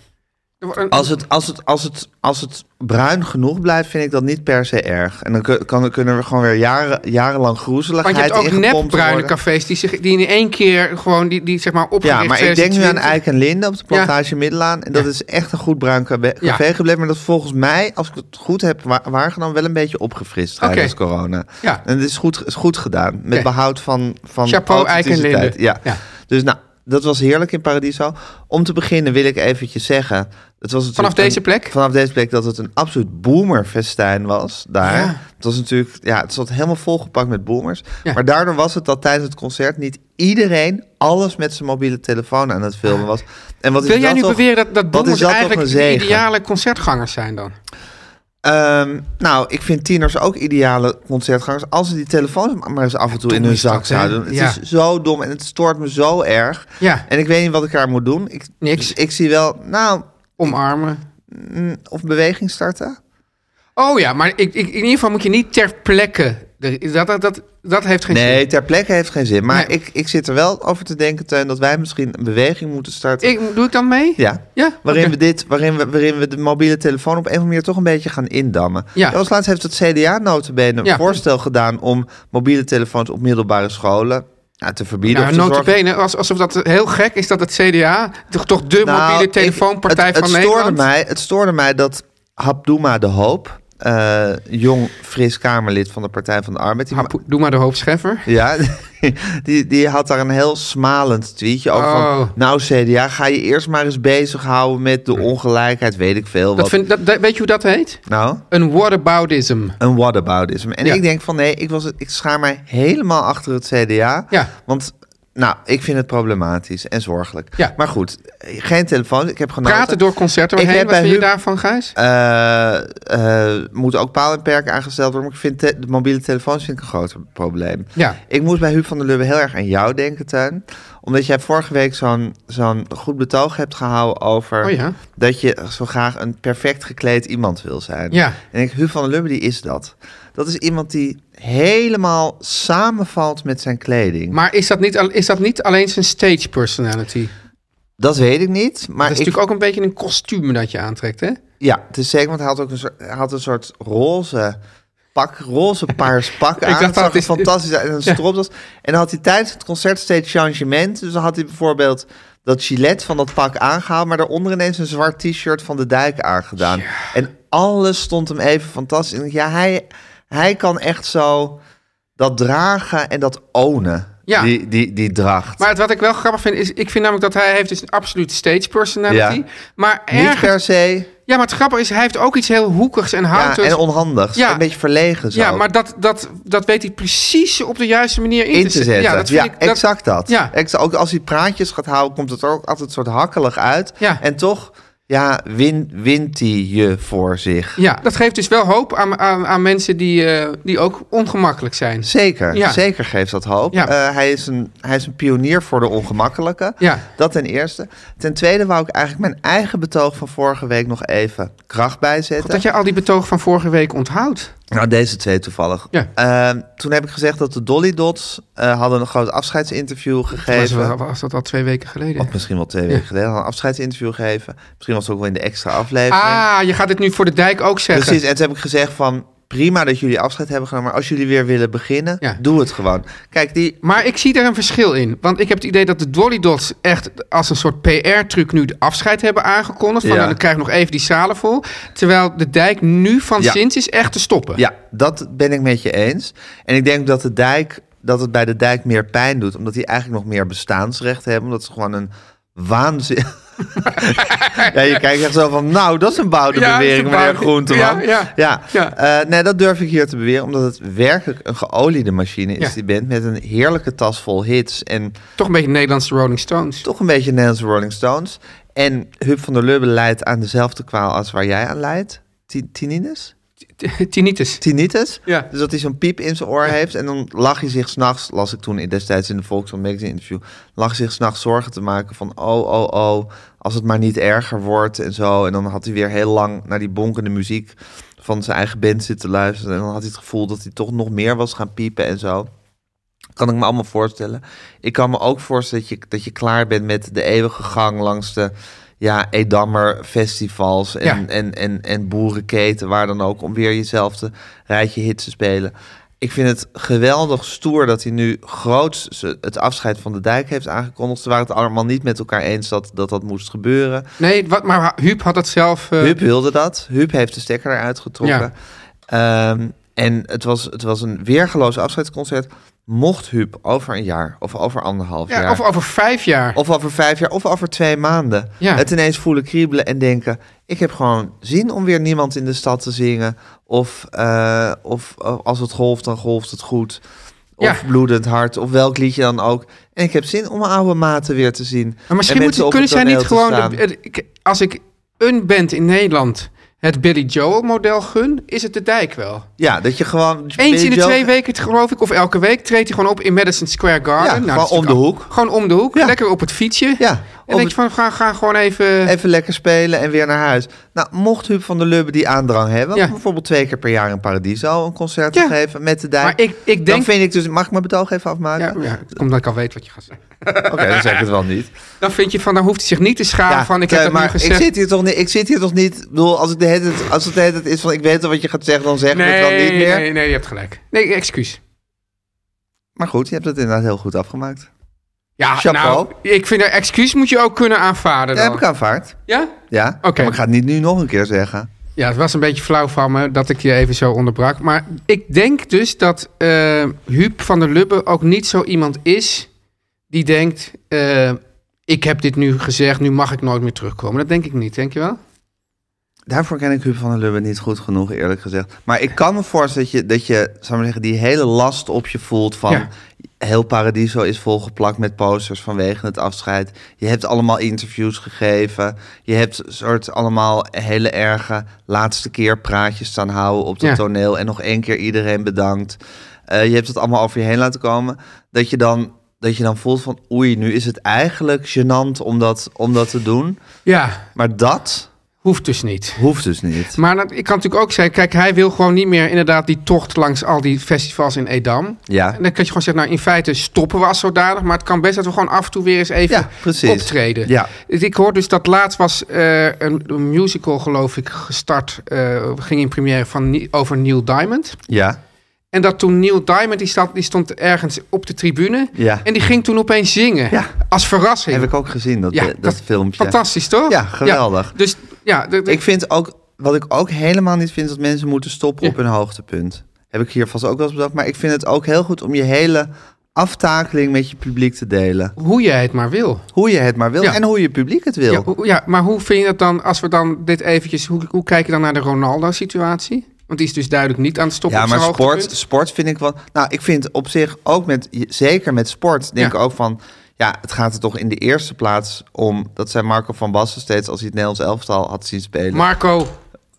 Speaker 3: Er wordt een-
Speaker 2: Als het, als, het, als, het, als het bruin genoeg blijft, vind ik dat niet per se erg. En dan kun- kan, kunnen we gewoon weer jaren, jarenlang
Speaker 3: want je
Speaker 2: groezeligheid
Speaker 3: hebt ook
Speaker 2: ingepompt
Speaker 3: nepbruine
Speaker 2: worden.
Speaker 3: cafés die, zich, die in één keer gewoon, die, die zeg maar opgericht
Speaker 2: Ja, maar ik denk nu aan
Speaker 3: 2020.
Speaker 2: Eik en Linde op de plantage Middelaan. En dat
Speaker 3: Ja.
Speaker 2: is echt een goed bruin cabe-
Speaker 3: Ja.
Speaker 2: café gebleven. Maar dat is volgens mij, als ik het goed heb wa- waargenomen, wel een beetje opgefrist
Speaker 3: Oké.
Speaker 2: tijdens corona.
Speaker 3: Ja.
Speaker 2: En het is goed, is goed gedaan. Met
Speaker 3: Oké.
Speaker 2: behoud van, van
Speaker 3: Chapeau, Eik en
Speaker 2: authenticiteit.
Speaker 3: Linde.
Speaker 2: Ja.
Speaker 3: Ja.
Speaker 2: Dus nou, dat was heerlijk in Paradiso. Om te beginnen wil ik eventjes zeggen... Het was
Speaker 3: Vanaf
Speaker 2: natuurlijk
Speaker 3: deze
Speaker 2: een-
Speaker 3: plek?
Speaker 2: Vanaf deze plek dat het een absoluut boomerfestijn was daar.
Speaker 3: Ja.
Speaker 2: Het was natuurlijk, ja, het zat helemaal volgepakt met boomers.
Speaker 3: Ja.
Speaker 2: Maar daardoor was het dat tijdens het concert niet iedereen alles met zijn mobiele telefoon aan het filmen was. En wat
Speaker 3: Wil
Speaker 2: is
Speaker 3: jij
Speaker 2: dat
Speaker 3: nu
Speaker 2: toch-
Speaker 3: beweren dat, dat
Speaker 2: wat is
Speaker 3: boomers
Speaker 2: dat toch
Speaker 3: eigenlijk
Speaker 2: een
Speaker 3: de
Speaker 2: zegen?
Speaker 3: ideale concertgangers zijn dan?
Speaker 2: Ehm, nou, ik vind tieners ook ideale concertgangers. Als ze die telefoon maar eens af en toe
Speaker 3: dom
Speaker 2: in hun
Speaker 3: is dat,
Speaker 2: zak
Speaker 3: hè?
Speaker 2: zouden doen. Het
Speaker 3: Ja.
Speaker 2: is zo dom en het stoort me zo erg.
Speaker 3: Ja.
Speaker 2: En ik weet niet wat ik daar moet doen. Ik,
Speaker 3: Niks.
Speaker 2: dus ik zie wel, nou,
Speaker 3: Omarmen.
Speaker 2: of beweging starten.
Speaker 3: Oh ja, maar ik, ik, in ieder geval moet je niet ter plekke. de- Dat, dat, dat, dat heeft geen
Speaker 2: Nee,
Speaker 3: zin.
Speaker 2: ter plekke heeft geen zin. Maar
Speaker 3: Nee.
Speaker 2: ik, ik zit er wel over te denken, Teun, dat wij misschien een beweging moeten starten.
Speaker 3: Ik, doe ik dan mee?
Speaker 2: Ja.
Speaker 3: Ja?
Speaker 2: Waarin,
Speaker 3: Oké.
Speaker 2: we dit, waarin, we, waarin we de mobiele telefoon op een of andere manier toch een beetje gaan indammen.
Speaker 3: Ja.
Speaker 2: Als laatst heeft het CDA notabene een
Speaker 3: Ja.
Speaker 2: voorstel gedaan om mobiele telefoons op middelbare scholen ja, te verbieden.
Speaker 3: Nou,
Speaker 2: of te zorgen-
Speaker 3: notabene, als- alsof dat heel gek is dat het CDA, toch, toch de
Speaker 2: Nou,
Speaker 3: mobiele
Speaker 2: ik-
Speaker 3: telefoonpartij
Speaker 2: het,
Speaker 3: van
Speaker 2: het
Speaker 3: Nederland...
Speaker 2: Stoorde mij, het stoorde mij dat Habdouma de Hoop, eh, jong fris Kamerlid van de Partij van de Arbeid, die,
Speaker 3: Ah, poe- Doe maar de hoop Scheffer.
Speaker 2: Ja, die, die had daar een heel smalend tweetje over.
Speaker 3: Oh. Hm.
Speaker 2: Van, nou, CDA, ga je eerst maar eens bezighouden met de ongelijkheid, weet ik veel.
Speaker 3: Dat
Speaker 2: Wat.
Speaker 3: vind, dat, dat- weet je hoe dat heet?
Speaker 2: Nou,
Speaker 3: Een whataboutism.
Speaker 2: een whataboutism. En
Speaker 3: Ja.
Speaker 2: ik denk van nee, ik, was, ik schaar mij helemaal achter het CDA.
Speaker 3: Ja.
Speaker 2: Want, nou, ik vind het problematisch en zorgelijk.
Speaker 3: Ja.
Speaker 2: Maar goed, geen telefoon. Ik heb genoten.
Speaker 3: Praten door concerten
Speaker 2: Ik
Speaker 3: heen.
Speaker 2: heb
Speaker 3: Wat
Speaker 2: bij
Speaker 3: vind je
Speaker 2: Huub-
Speaker 3: daarvan, Gijs?
Speaker 2: eh eh, moeten ook paal en perk aangesteld worden. Maar ik vind te- de mobiele telefoons vind ik een groter probleem.
Speaker 3: Ja.
Speaker 2: Ik moest bij Huub van der Lubbe heel erg aan jou denken, Tuin. Omdat jij vorige week zo'n zo'n goed betoog hebt gehouden over...
Speaker 3: Oh ja.
Speaker 2: dat je zo graag een perfect gekleed iemand wil zijn.
Speaker 3: Ja.
Speaker 2: En ik, Huub van der Lubbe, die is dat. Dat is iemand die helemaal samenvalt met zijn kleding.
Speaker 3: Maar is dat, niet, al- is dat niet alleen zijn stage personality?
Speaker 2: dat weet ik niet. Maar
Speaker 3: dat is
Speaker 2: ik,
Speaker 3: natuurlijk ook een beetje een kostuum dat je aantrekt, hè?
Speaker 2: Ja, het is zeker, want hij had ook een soort, hij had een soort roze pak, roze paars pak aan.
Speaker 3: dacht
Speaker 2: Het zag
Speaker 3: dat
Speaker 2: er
Speaker 3: is-
Speaker 2: fantastisch uit en een stropdas. En dan had hij tijdens het concert steeds changement. Dus dan had hij bijvoorbeeld dat gilet van dat pak aangehaald, maar daaronder ineens een zwart t-shirt van de dijk aangedaan. En alles stond hem even fantastisch. En ik dacht, ja, hij, hij kan echt zo dat dragen en dat ownen,
Speaker 3: Ja.
Speaker 2: die, die, die dracht.
Speaker 3: Maar het, wat ik wel grappig vind, is... Ik vind namelijk dat hij heeft dus een absolute stage personality.
Speaker 2: Ja.
Speaker 3: Maar
Speaker 2: Niet
Speaker 3: ergens...
Speaker 2: per se
Speaker 3: Ja, maar het grappige is, hij heeft ook iets heel hoekigs en
Speaker 2: ja,
Speaker 3: houters.
Speaker 2: en onhandig.
Speaker 3: dus- Ja.
Speaker 2: Een beetje verlegen zo.
Speaker 3: Ja, maar dat, dat, dat weet hij precies op de juiste manier in,
Speaker 2: in te zetten.
Speaker 3: Ja, dat vind ik, dat-
Speaker 2: exact dat.
Speaker 3: Ja.
Speaker 2: Exa- ook als hij praatjes gaat houden, komt het er ook altijd een soort hakkelig uit.
Speaker 3: Ja.
Speaker 2: En toch, ja, win, wint hij je voor zich.
Speaker 3: Ja, dat geeft dus wel hoop aan, aan, aan mensen die, eh, die ook ongemakkelijk zijn.
Speaker 2: Zeker,
Speaker 3: Ja.
Speaker 2: zeker geeft dat hoop.
Speaker 3: Ja.
Speaker 2: Eh, hij, is een, hij is een pionier voor de ongemakkelijke.
Speaker 3: Ja.
Speaker 2: Dat ten eerste. Ten tweede wou ik eigenlijk mijn eigen betoog van vorige week nog even kracht bijzetten.
Speaker 3: Dat je al die betoog van vorige week onthoudt.
Speaker 2: Nou, deze twee toevallig.
Speaker 3: Ja.
Speaker 2: Ehm, toen heb ik gezegd dat de Dolly Dots eh, hadden een groot afscheidsinterview
Speaker 3: Was,
Speaker 2: gegeven.
Speaker 3: dat- was dat al twee weken geleden?
Speaker 2: Of misschien wel twee weken geleden. Hadden een afscheidsinterview gegeven. Misschien was het ook wel in de extra aflevering.
Speaker 3: Ah, je gaat het nu voor de dijk ook zeggen.
Speaker 2: Precies, en toen heb ik gezegd van... Prima dat jullie afscheid hebben genomen, maar als jullie weer willen beginnen,
Speaker 3: Ja.
Speaker 2: doe het gewoon. Kijk, die...
Speaker 3: Maar ik zie daar een verschil in. Want ik heb het idee dat de Dolly Dots echt als een soort PR-truc nu de afscheid hebben aangekondigd. Van
Speaker 2: Ja.
Speaker 3: nou, dan krijg ik nog even die zalen vol. Terwijl de dijk nu van
Speaker 2: Ja.
Speaker 3: sinds is echt te stoppen.
Speaker 2: Ja, dat ben ik met je eens. En ik denk dat, de dijk, dat het bij de dijk meer pijn doet, omdat die eigenlijk nog meer bestaansrecht hebben. Omdat ze gewoon een waanzin... ja, je kijkt echt zo van, nou, dat is een bouwde
Speaker 3: Ja, dat is
Speaker 2: bewering,
Speaker 3: een
Speaker 2: meneer
Speaker 3: bouwde-
Speaker 2: Groenteman.
Speaker 3: Ja, ja.
Speaker 2: Ja,
Speaker 3: Ja.
Speaker 2: eh, nee, dat durf ik hier te beweren, omdat het werkelijk een geoliede machine is
Speaker 3: Ja.
Speaker 2: die band met een heerlijke tas vol hits en
Speaker 3: Toch een beetje Nederlandse Rolling Stones.
Speaker 2: toch een beetje Nederlandse Rolling Stones. En Huub van der Lubbe leidt aan dezelfde kwaal als waar jij aan leidt. Ti- Tinnitus?
Speaker 3: eh, Tinnitus.
Speaker 2: Tinnitus?
Speaker 3: Ja.
Speaker 2: Dus dat hij zo'n piep in zijn oor heeft. En dan lag hij zich s'nachts, las ik toen in- destijds in de Volkskrant Magazine interview, lag hij zich s'nachts zorgen te maken van oh, oh, oh, als het maar niet erger wordt en zo. En dan had hij weer heel lang naar die bonkende muziek van zijn eigen band zitten luisteren. En dan had hij het gevoel dat hij toch nog meer was gaan piepen en zo. Kan ik me allemaal voorstellen. Ik kan me ook voorstellen dat je, dat je klaar bent met de eeuwige gang langs de ja, Edammer festivals en,
Speaker 3: Ja.
Speaker 2: en, en, en boerenketen, waar dan ook, om weer jezelf te rijtje hits te spelen. Ik vind het geweldig stoer dat hij nu groots ze- het afscheid van de dijk heeft aangekondigd. Ze waren het allemaal niet met elkaar eens dat dat, dat moest gebeuren.
Speaker 3: Nee, wat, maar Huub had dat zelf... eh,
Speaker 2: Huub wilde dat. Huub heeft de stekker eruit getrokken. Ehm, en het was, het was een weergeloos afscheidsconcert. Mocht Huub over een jaar of over anderhalf
Speaker 3: ja,
Speaker 2: jaar...
Speaker 3: Of over vijf jaar.
Speaker 2: Of over vijf jaar, of over twee maanden.
Speaker 3: Ja.
Speaker 2: Het ineens voelen kriebelen en denken... ik heb gewoon zin om weer niemand in de stad te zingen. Of, eh, of eh, als het golft, dan golft het goed. Of
Speaker 3: Ja.
Speaker 2: bloedend hart, of welk liedje dan ook. En ik heb zin om mijn oude maten weer te zien.
Speaker 3: Maar misschien
Speaker 2: En
Speaker 3: moet,
Speaker 2: mensen op
Speaker 3: kunnen
Speaker 2: het
Speaker 3: zij niet
Speaker 2: toneel te
Speaker 3: gewoon... de-
Speaker 2: staan.
Speaker 3: eh, ik- als ik een band in Nederland het Billy Joel model gun, is het de dijk wel.
Speaker 2: Ja, dat je gewoon...
Speaker 3: Eens in de
Speaker 2: Joe-
Speaker 3: twee weken, t- geloof ik, of elke week treedt hij gewoon op in Madison Square Garden. Nou,
Speaker 2: Ja,
Speaker 3: dat
Speaker 2: gewoon
Speaker 3: is natuurlijk
Speaker 2: om de
Speaker 3: al-
Speaker 2: hoek.
Speaker 3: Gewoon om de hoek,
Speaker 2: Ja.
Speaker 3: lekker op het fietsje.
Speaker 2: Ja,
Speaker 3: En
Speaker 2: op
Speaker 3: denk je van, ga, ga gewoon even...
Speaker 2: Even lekker spelen en weer naar huis. Nou, mocht Huub van der Lubbe die aandrang hebben...
Speaker 3: Ja.
Speaker 2: om bijvoorbeeld twee keer per jaar in Paradiso een concert
Speaker 3: Ja.
Speaker 2: te geven met de dijk...
Speaker 3: Maar ik- ik
Speaker 2: Dan
Speaker 3: denk-
Speaker 2: vind ik dus... Mag ik mijn betoog even
Speaker 3: Ja,
Speaker 2: afmaken?
Speaker 3: ja, omdat ik al weet wat je gaat zeggen.
Speaker 2: Oké, dan zeg ik het wel niet.
Speaker 3: Dan vind je van, dan hoeft hij zich niet te schamen van, Ah, ik heb
Speaker 2: Teun,
Speaker 3: dat nu
Speaker 2: maar
Speaker 3: gezegd.
Speaker 2: ik zit hier toch niet... Ik zit hier toch niet... Ik bedoel, als, ik de hele tijd, als het de hele tijd is van... Ik weet al wat je gaat zeggen, dan zeg ik
Speaker 3: nee,
Speaker 2: het dan niet meer.
Speaker 3: nee, nee, je hebt gelijk. Nee, excuus.
Speaker 2: Maar goed, je hebt het inderdaad heel goed afgemaakt.
Speaker 3: Ja,
Speaker 2: Chapeau.
Speaker 3: nou, ik vind, eh, excuus moet je ook kunnen aanvaarden
Speaker 2: Dat heb
Speaker 3: dan.
Speaker 2: ik aanvaard.
Speaker 3: Ja?
Speaker 2: Ja,
Speaker 3: Oké.
Speaker 2: maar ik ga het niet nu nog een keer zeggen.
Speaker 3: Ja, het was een beetje flauw van me dat ik je even zo onderbrak. Maar ik denk dus dat eh Huub van der Lubbe ook niet zo iemand is die denkt... eh, ik heb dit nu gezegd, nu mag ik nooit meer terugkomen. Dat denk ik niet, denk je wel?
Speaker 2: Daarvoor ken ik Huub van der Lubbe niet goed genoeg, eerlijk gezegd. Maar ik kan me voorstellen dat je, dat je zou ik maar zeggen, die hele last op je voelt van...
Speaker 3: Ja.
Speaker 2: Heel Paradiso is volgeplakt met posters vanwege het afscheid. Je hebt allemaal interviews gegeven. Je hebt soort allemaal hele erge laatste keer praatjes staan houden op het
Speaker 3: Ja.
Speaker 2: toneel. En nog één keer iedereen bedankt. Eh, je hebt het allemaal over je heen laten komen. Dat je dan, dat je dan voelt van oei, nu is het eigenlijk gênant om dat, om dat te doen.
Speaker 3: Ja,
Speaker 2: Maar dat
Speaker 3: hoeft dus niet.
Speaker 2: hoeft dus niet.
Speaker 3: Maar dat, ik kan natuurlijk ook zeggen, kijk, hij wil gewoon niet meer inderdaad die tocht langs al die festivals in Edam.
Speaker 2: Ja.
Speaker 3: En dan kan je gewoon zeggen, nou in feite stoppen we als zodanig, maar het kan best dat we gewoon af en toe weer eens even
Speaker 2: Ja, precies.
Speaker 3: optreden.
Speaker 2: Ja.
Speaker 3: Dus Ik hoor dus dat laatst was eh, een, een musical, geloof ik, gestart, eh, ging in première van, Nie- over Neil Diamond.
Speaker 2: Ja.
Speaker 3: En dat toen Neil Diamond, die stond, die stond ergens op de tribune
Speaker 2: Ja.
Speaker 3: en die ging toen opeens zingen,
Speaker 2: Ja.
Speaker 3: als verrassing.
Speaker 2: Heb ik ook gezien, dat, eh,
Speaker 3: Ja,
Speaker 2: dat,
Speaker 3: dat-
Speaker 2: filmpje.
Speaker 3: Fantastisch, toch?
Speaker 2: Ja, geweldig.
Speaker 3: dus ja, de- de-
Speaker 2: Ik vind ook, wat ik ook helemaal niet vind, is dat mensen moeten stoppen op hun hoogtepunt. Heb ik hier vast ook wel eens bedacht. Maar ik vind het ook heel goed om je hele aftakeling met je publiek te delen.
Speaker 3: hoe jij het maar wil.
Speaker 2: Hoe je het maar wil
Speaker 3: Ja.
Speaker 2: en hoe je publiek het wil.
Speaker 3: Ja, hoe- ja, maar hoe vind je dat dan, als we dan dit eventjes, hoe, hoe kijk je dan naar de Ronaldo-situatie? Want die is dus duidelijk niet aan het stoppen.
Speaker 2: Ja,
Speaker 3: op
Speaker 2: maar
Speaker 3: zijn
Speaker 2: sport,
Speaker 3: hoogtepunt.
Speaker 2: sport vind ik wel. Nou, ik vind op zich ook met, zeker met sport, denk
Speaker 3: Ja.
Speaker 2: ik ook van. Ja, het gaat er toch in de eerste plaats om. Dat zei Marco van Basten steeds als hij het Nederlands elftal had zien spelen.
Speaker 3: Marco,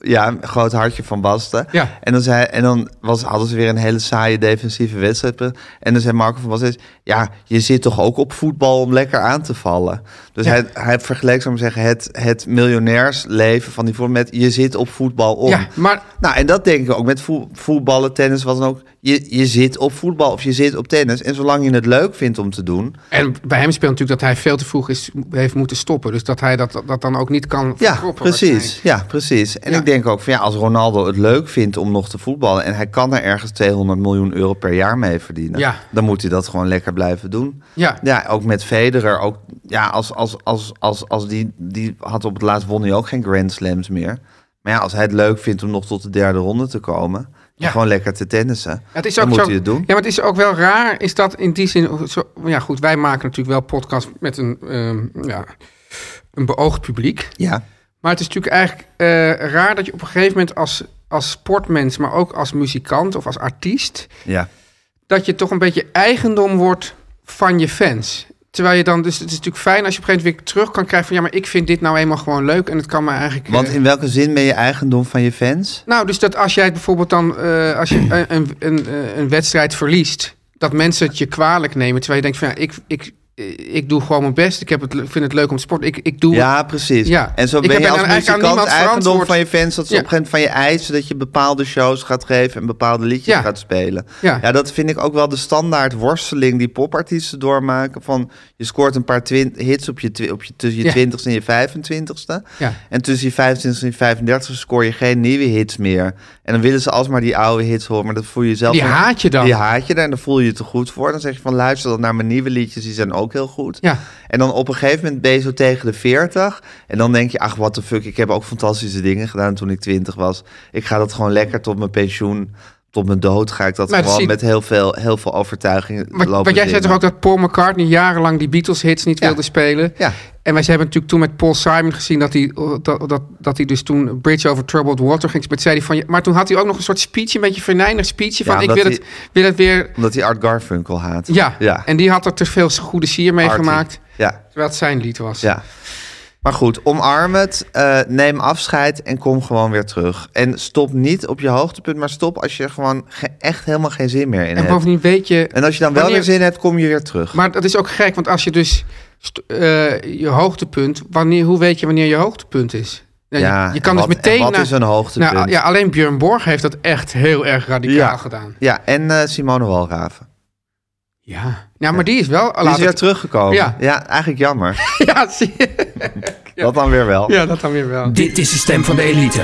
Speaker 2: Ja, een groot hartje van Basten.
Speaker 3: Ja.
Speaker 2: En dan, zei, en dan was, hadden ze weer een hele saaie defensieve wedstrijd. En dan zei Marco van Basten, ja, je zit toch ook op voetbal om lekker aan te vallen. Dus
Speaker 3: Ja.
Speaker 2: hij, hij vergeleek, zou ik maar zeggen, het, het miljonairsleven van die voetbal met je zit op voetbal om.
Speaker 3: Ja, maar
Speaker 2: Nou, en dat denk ik ook met voe- voetballen, tennis, wat dan ook. Je, je zit op voetbal of je zit op tennis. En zolang je het leuk vindt om te doen,
Speaker 3: En bij hem speelt natuurlijk dat hij veel te vroeg is, heeft moeten stoppen. Dus dat hij dat, dat dan ook niet kan
Speaker 2: Ja,
Speaker 3: verkroppen
Speaker 2: precies.
Speaker 3: waarschijnlijk.
Speaker 2: Ja, precies. En
Speaker 3: Ja.
Speaker 2: ik denk ook van ja, als Ronaldo het leuk vindt om nog te voetballen en hij kan er ergens 200 miljoen euro per jaar mee verdienen,
Speaker 3: Ja.
Speaker 2: dan moet hij dat gewoon lekker blijven doen.
Speaker 3: Ja.
Speaker 2: Ja, ook met Federer. Ook, ja, als, als, als, als, als die, die had op het laatst won hij ook geen Grand Slams meer. Maar ja, als hij het leuk vindt om nog tot de derde ronde te komen,
Speaker 3: Ja.
Speaker 2: en gewoon lekker te tennissen,
Speaker 3: Ja, Het is
Speaker 2: dan
Speaker 3: ook
Speaker 2: moet
Speaker 3: zo,
Speaker 2: hij het doen.
Speaker 3: Ja, maar het is ook wel raar, is dat in die zin... Zo, ja, goed, wij maken natuurlijk wel podcast met een, ehm, ja, een beoogd publiek.
Speaker 2: Ja.
Speaker 3: Maar het is natuurlijk eigenlijk eh, raar dat je op een gegeven moment als, als sportmens... maar ook als muzikant of als artiest...
Speaker 2: ja.
Speaker 3: dat je toch een beetje eigendom wordt van je fans. Terwijl je dan, dus het is natuurlijk fijn als je op een gegeven moment weer terug kan krijgen van ja, maar ik vind dit nou eenmaal gewoon leuk en het kan me eigenlijk. eh,
Speaker 2: Want in welke zin ben je eigendom van je fans?
Speaker 3: Nou, dus dat als jij bijvoorbeeld dan, eh, als je een, een, een, eh, een wedstrijd verliest, dat mensen het je kwalijk nemen. Terwijl je denkt van ja, ik, ik, ik doe gewoon mijn best. Ik heb het, vind het leuk om te sporten. Ik, ik doe
Speaker 2: Ja, precies.
Speaker 3: Ja.
Speaker 2: En zo
Speaker 3: Ik
Speaker 2: ben
Speaker 3: heb
Speaker 2: je
Speaker 3: er
Speaker 2: als
Speaker 3: dan
Speaker 2: muzikant
Speaker 3: eigenlijk aan niemand
Speaker 2: eigendom
Speaker 3: verantwoord.
Speaker 2: van je fans... dat ze
Speaker 3: Ja.
Speaker 2: op een gegeven moment van je eisen... dat je bepaalde shows gaat geven en bepaalde liedjes
Speaker 3: Ja.
Speaker 2: gaat spelen.
Speaker 3: Ja.
Speaker 2: dat vind ik ook wel de standaard worsteling die popartiesten doormaken. Van je scoort een paar twin- hits op je, twi- op je, tussen je
Speaker 3: Ja.
Speaker 2: 20ste en je 25ste.
Speaker 3: Ja.
Speaker 2: En tussen je 25ste en je 35 e scoor je geen nieuwe hits meer. En dan willen ze alsmaar die oude hits horen, maar dat voel je zelf...
Speaker 3: Die
Speaker 2: dan-
Speaker 3: haat je dan.
Speaker 2: Die haat je dan en dan voel je je te goed voor. Dan zeg je van luister dan naar mijn nieuwe liedjes, die zijn ook heel goed.
Speaker 3: Ja.
Speaker 2: En dan op een gegeven moment ben je zo tegen de 40. En dan denk je, ach, what the fuck, ik heb ook fantastische dingen gedaan toen ik 20 was. Ik ga dat gewoon lekker tot mijn pensioen, tot mijn dood ga ik dat
Speaker 3: Maar dat
Speaker 2: gewoon
Speaker 3: zie-
Speaker 2: met heel veel, heel veel overtuiging
Speaker 3: Wat,
Speaker 2: lopen
Speaker 3: wat jij zei
Speaker 2: zingen.
Speaker 3: toch ook dat Paul McCartney jarenlang die Beatles-hits niet
Speaker 2: Ja.
Speaker 3: wilde spelen?
Speaker 2: Ja.
Speaker 3: En wij hebben natuurlijk toen met Paul Simon gezien dat hij, eh, dat, dat, dat hij dus toen Bridge over Troubled Water ging. Met zei hij van, ja, maar toen had hij ook nog een soort speech, een beetje verneinig speechje van
Speaker 2: Ja,
Speaker 3: ik
Speaker 2: omdat
Speaker 3: wil,
Speaker 2: hij-
Speaker 3: het, wil het weer...
Speaker 2: Omdat hij Art Garfunkel haat.
Speaker 3: Ja.
Speaker 2: ja.
Speaker 3: en die had er te veel goede sier mee
Speaker 2: Artie.
Speaker 3: gemaakt,
Speaker 2: Ja,
Speaker 3: terwijl het zijn lied was.
Speaker 2: ja. Maar goed, omarm het, eh, neem afscheid en kom gewoon weer terug. En stop niet op je hoogtepunt, maar stop als je er gewoon ge- echt helemaal geen zin meer in
Speaker 3: En
Speaker 2: hebt.
Speaker 3: bovendien weet je...
Speaker 2: En als je dan wel
Speaker 3: wanneer-
Speaker 2: weer zin hebt, kom je weer terug.
Speaker 3: Maar dat is ook gek, want als je dus st- eh, je hoogtepunt, wanneer, hoe weet je wanneer je hoogtepunt is? Nou, je-
Speaker 2: Ja,
Speaker 3: je,
Speaker 2: en
Speaker 3: kan
Speaker 2: wat-
Speaker 3: dus
Speaker 2: en
Speaker 3: meteen.
Speaker 2: wat
Speaker 3: naar-
Speaker 2: is een hoogtepunt?
Speaker 3: Nou, ja, alleen Björn Borg heeft dat echt heel erg radicaal
Speaker 2: Ja.
Speaker 3: gedaan.
Speaker 2: Ja, en eh, Simone Walraven.
Speaker 3: Ja. Nou, maar die is wel.
Speaker 2: Die is weer teruggekomen.
Speaker 3: Ja.
Speaker 2: Ja. eigenlijk jammer.
Speaker 3: Ja, zie je.
Speaker 2: Dat dan weer wel.
Speaker 3: ja, dat dan weer wel.
Speaker 6: Dit is de stem van de elite.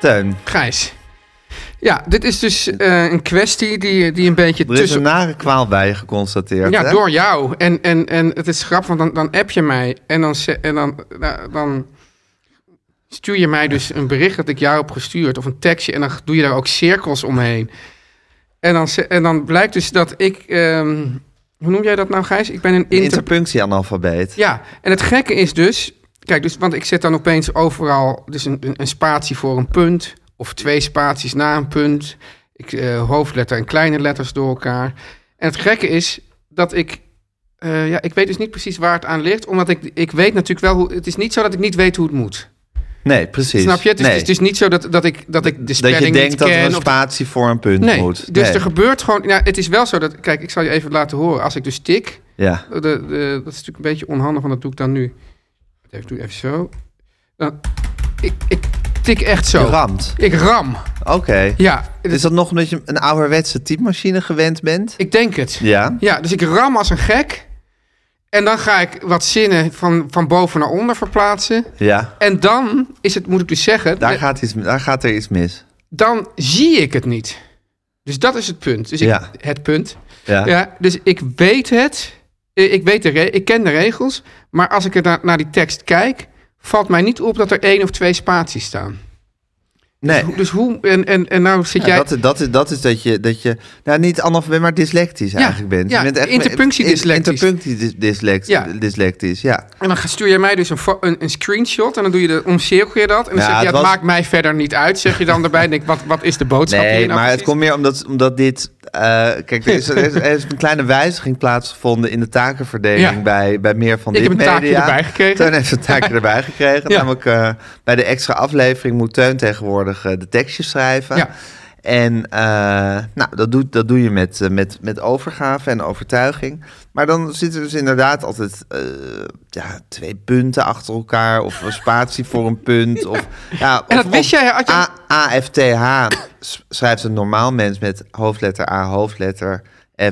Speaker 2: Teun,
Speaker 3: Grijs. Ja, dit is dus eh, een kwestie die, die een beetje
Speaker 2: er is een
Speaker 3: tussen.
Speaker 2: nare kwaal bij je geconstateerd.
Speaker 3: Ja,
Speaker 2: hè?
Speaker 3: door jou. En, en, en het is grappig, want dan, dan app je mij. En dan, ze- en dan, nou, dan stuur je mij dus een bericht dat ik jou heb gestuurd. Of een tekstje. En dan doe je daar ook cirkels omheen. En dan, ze- en dan blijkt dus dat ik... ehm, hoe noem jij dat nou, Gijs? Ik ben een
Speaker 2: Een
Speaker 3: inter...
Speaker 2: interpunctie-analfabeet.
Speaker 3: Ja, en het gekke is dus... Kijk, dus, want ik zet dan opeens overal dus een, een, een spatie voor een punt. Of twee spaties na een punt. Ik, eh, hoofdletter en kleine letters door elkaar. En het gekke is dat ik... eh, ja, ik weet dus niet precies waar het aan ligt. Omdat ik, ik weet natuurlijk wel hoe... Het is niet zo dat ik niet weet hoe het moet.
Speaker 2: Nee, precies.
Speaker 3: Snap je? Het is,
Speaker 2: Nee.
Speaker 3: het is dus niet zo dat, dat, ik, dat ik de
Speaker 2: dat je
Speaker 3: spelling
Speaker 2: denkt
Speaker 3: niet
Speaker 2: dat
Speaker 3: ken.
Speaker 2: er een
Speaker 3: of-
Speaker 2: spatie voor een punt
Speaker 3: nee,
Speaker 2: moet.
Speaker 3: dus
Speaker 2: Nee.
Speaker 3: er gebeurt gewoon... Nou, het is wel zo dat... Kijk, ik zal je even laten horen. Als ik dus tik...
Speaker 2: Ja.
Speaker 3: De, de- dat is natuurlijk een beetje onhandig, want dat doe ik dan nu. Even, doe ik even zo. Dan, ik, ik tik echt
Speaker 2: Je
Speaker 3: zo.
Speaker 2: ramt.
Speaker 3: Ik ram.
Speaker 2: Oké.
Speaker 3: Ja, dus
Speaker 2: Is dat nog omdat je een ouderwetse typemachine gewend bent?
Speaker 3: ik denk het.
Speaker 2: Ja.
Speaker 3: Ja, dus ik ram als een gek. En dan ga ik wat zinnen van, van boven naar onder verplaatsen.
Speaker 2: Ja.
Speaker 3: En dan is het, moet ik dus zeggen,
Speaker 2: Daar
Speaker 3: eh,
Speaker 2: gaat, iets, daar gaat er iets mis.
Speaker 3: dan zie ik het niet. Dus dat is het punt. Dus ik,
Speaker 2: Ja.
Speaker 3: Het punt.
Speaker 2: Ja.
Speaker 3: Ja, dus ik weet het. Eh, Ik, weet de re- ik ken de regels. Maar als ik er na- naar die tekst kijk, valt mij niet op dat er één of twee spaties staan.
Speaker 2: Nee.
Speaker 3: Dus hoe, en, en, en nou zit
Speaker 2: Ja,
Speaker 3: jij...
Speaker 2: dat, dat, is, dat is dat je, dat je nou, niet analfabet, maar dyslectisch eigenlijk bent.
Speaker 3: ja,
Speaker 2: je bent
Speaker 3: interpunctiedysllectisch.
Speaker 2: Interpunctiedyslectisch,
Speaker 3: Ja.
Speaker 2: ja. Dyslectisch, ja.
Speaker 3: En dan stuur jij mij dus een, fo- een, een screenshot en dan doe je de, omcirkel je dat. En dan
Speaker 2: Ja,
Speaker 3: zeg
Speaker 2: het
Speaker 3: je, het
Speaker 2: was-
Speaker 3: maakt mij verder niet uit, zeg je dan erbij. En denk, wat, wat is de boodschap
Speaker 2: Nee,
Speaker 3: hier nou
Speaker 2: maar het
Speaker 3: precies?
Speaker 2: komt meer omdat, omdat dit... eh, kijk, er is, er, is, er is een kleine wijziging plaatsgevonden in de takenverdeling
Speaker 3: Ja.
Speaker 2: bij, bij meer van
Speaker 3: Ik
Speaker 2: dit
Speaker 3: heb een taakje
Speaker 2: media.
Speaker 3: erbij gekregen.
Speaker 2: Teun heeft een taakje erbij gekregen.
Speaker 3: Ja.
Speaker 2: Namelijk eh, bij de extra aflevering moet Teun tegenwoordig eh, de tekstjes schrijven.
Speaker 3: Ja.
Speaker 2: En eh, nou, dat, doet, dat doe je met, eh, met, met overgave en overtuiging. Maar dan zitten dus inderdaad altijd eh, ja, twee punten achter elkaar. Of een spatie voor een punt. Of, ja,
Speaker 3: En
Speaker 2: of-
Speaker 3: dat wist
Speaker 2: of
Speaker 3: jij, had je-
Speaker 2: A- AFTH s- schrijft een normaal mens met hoofdletter A, hoofdletter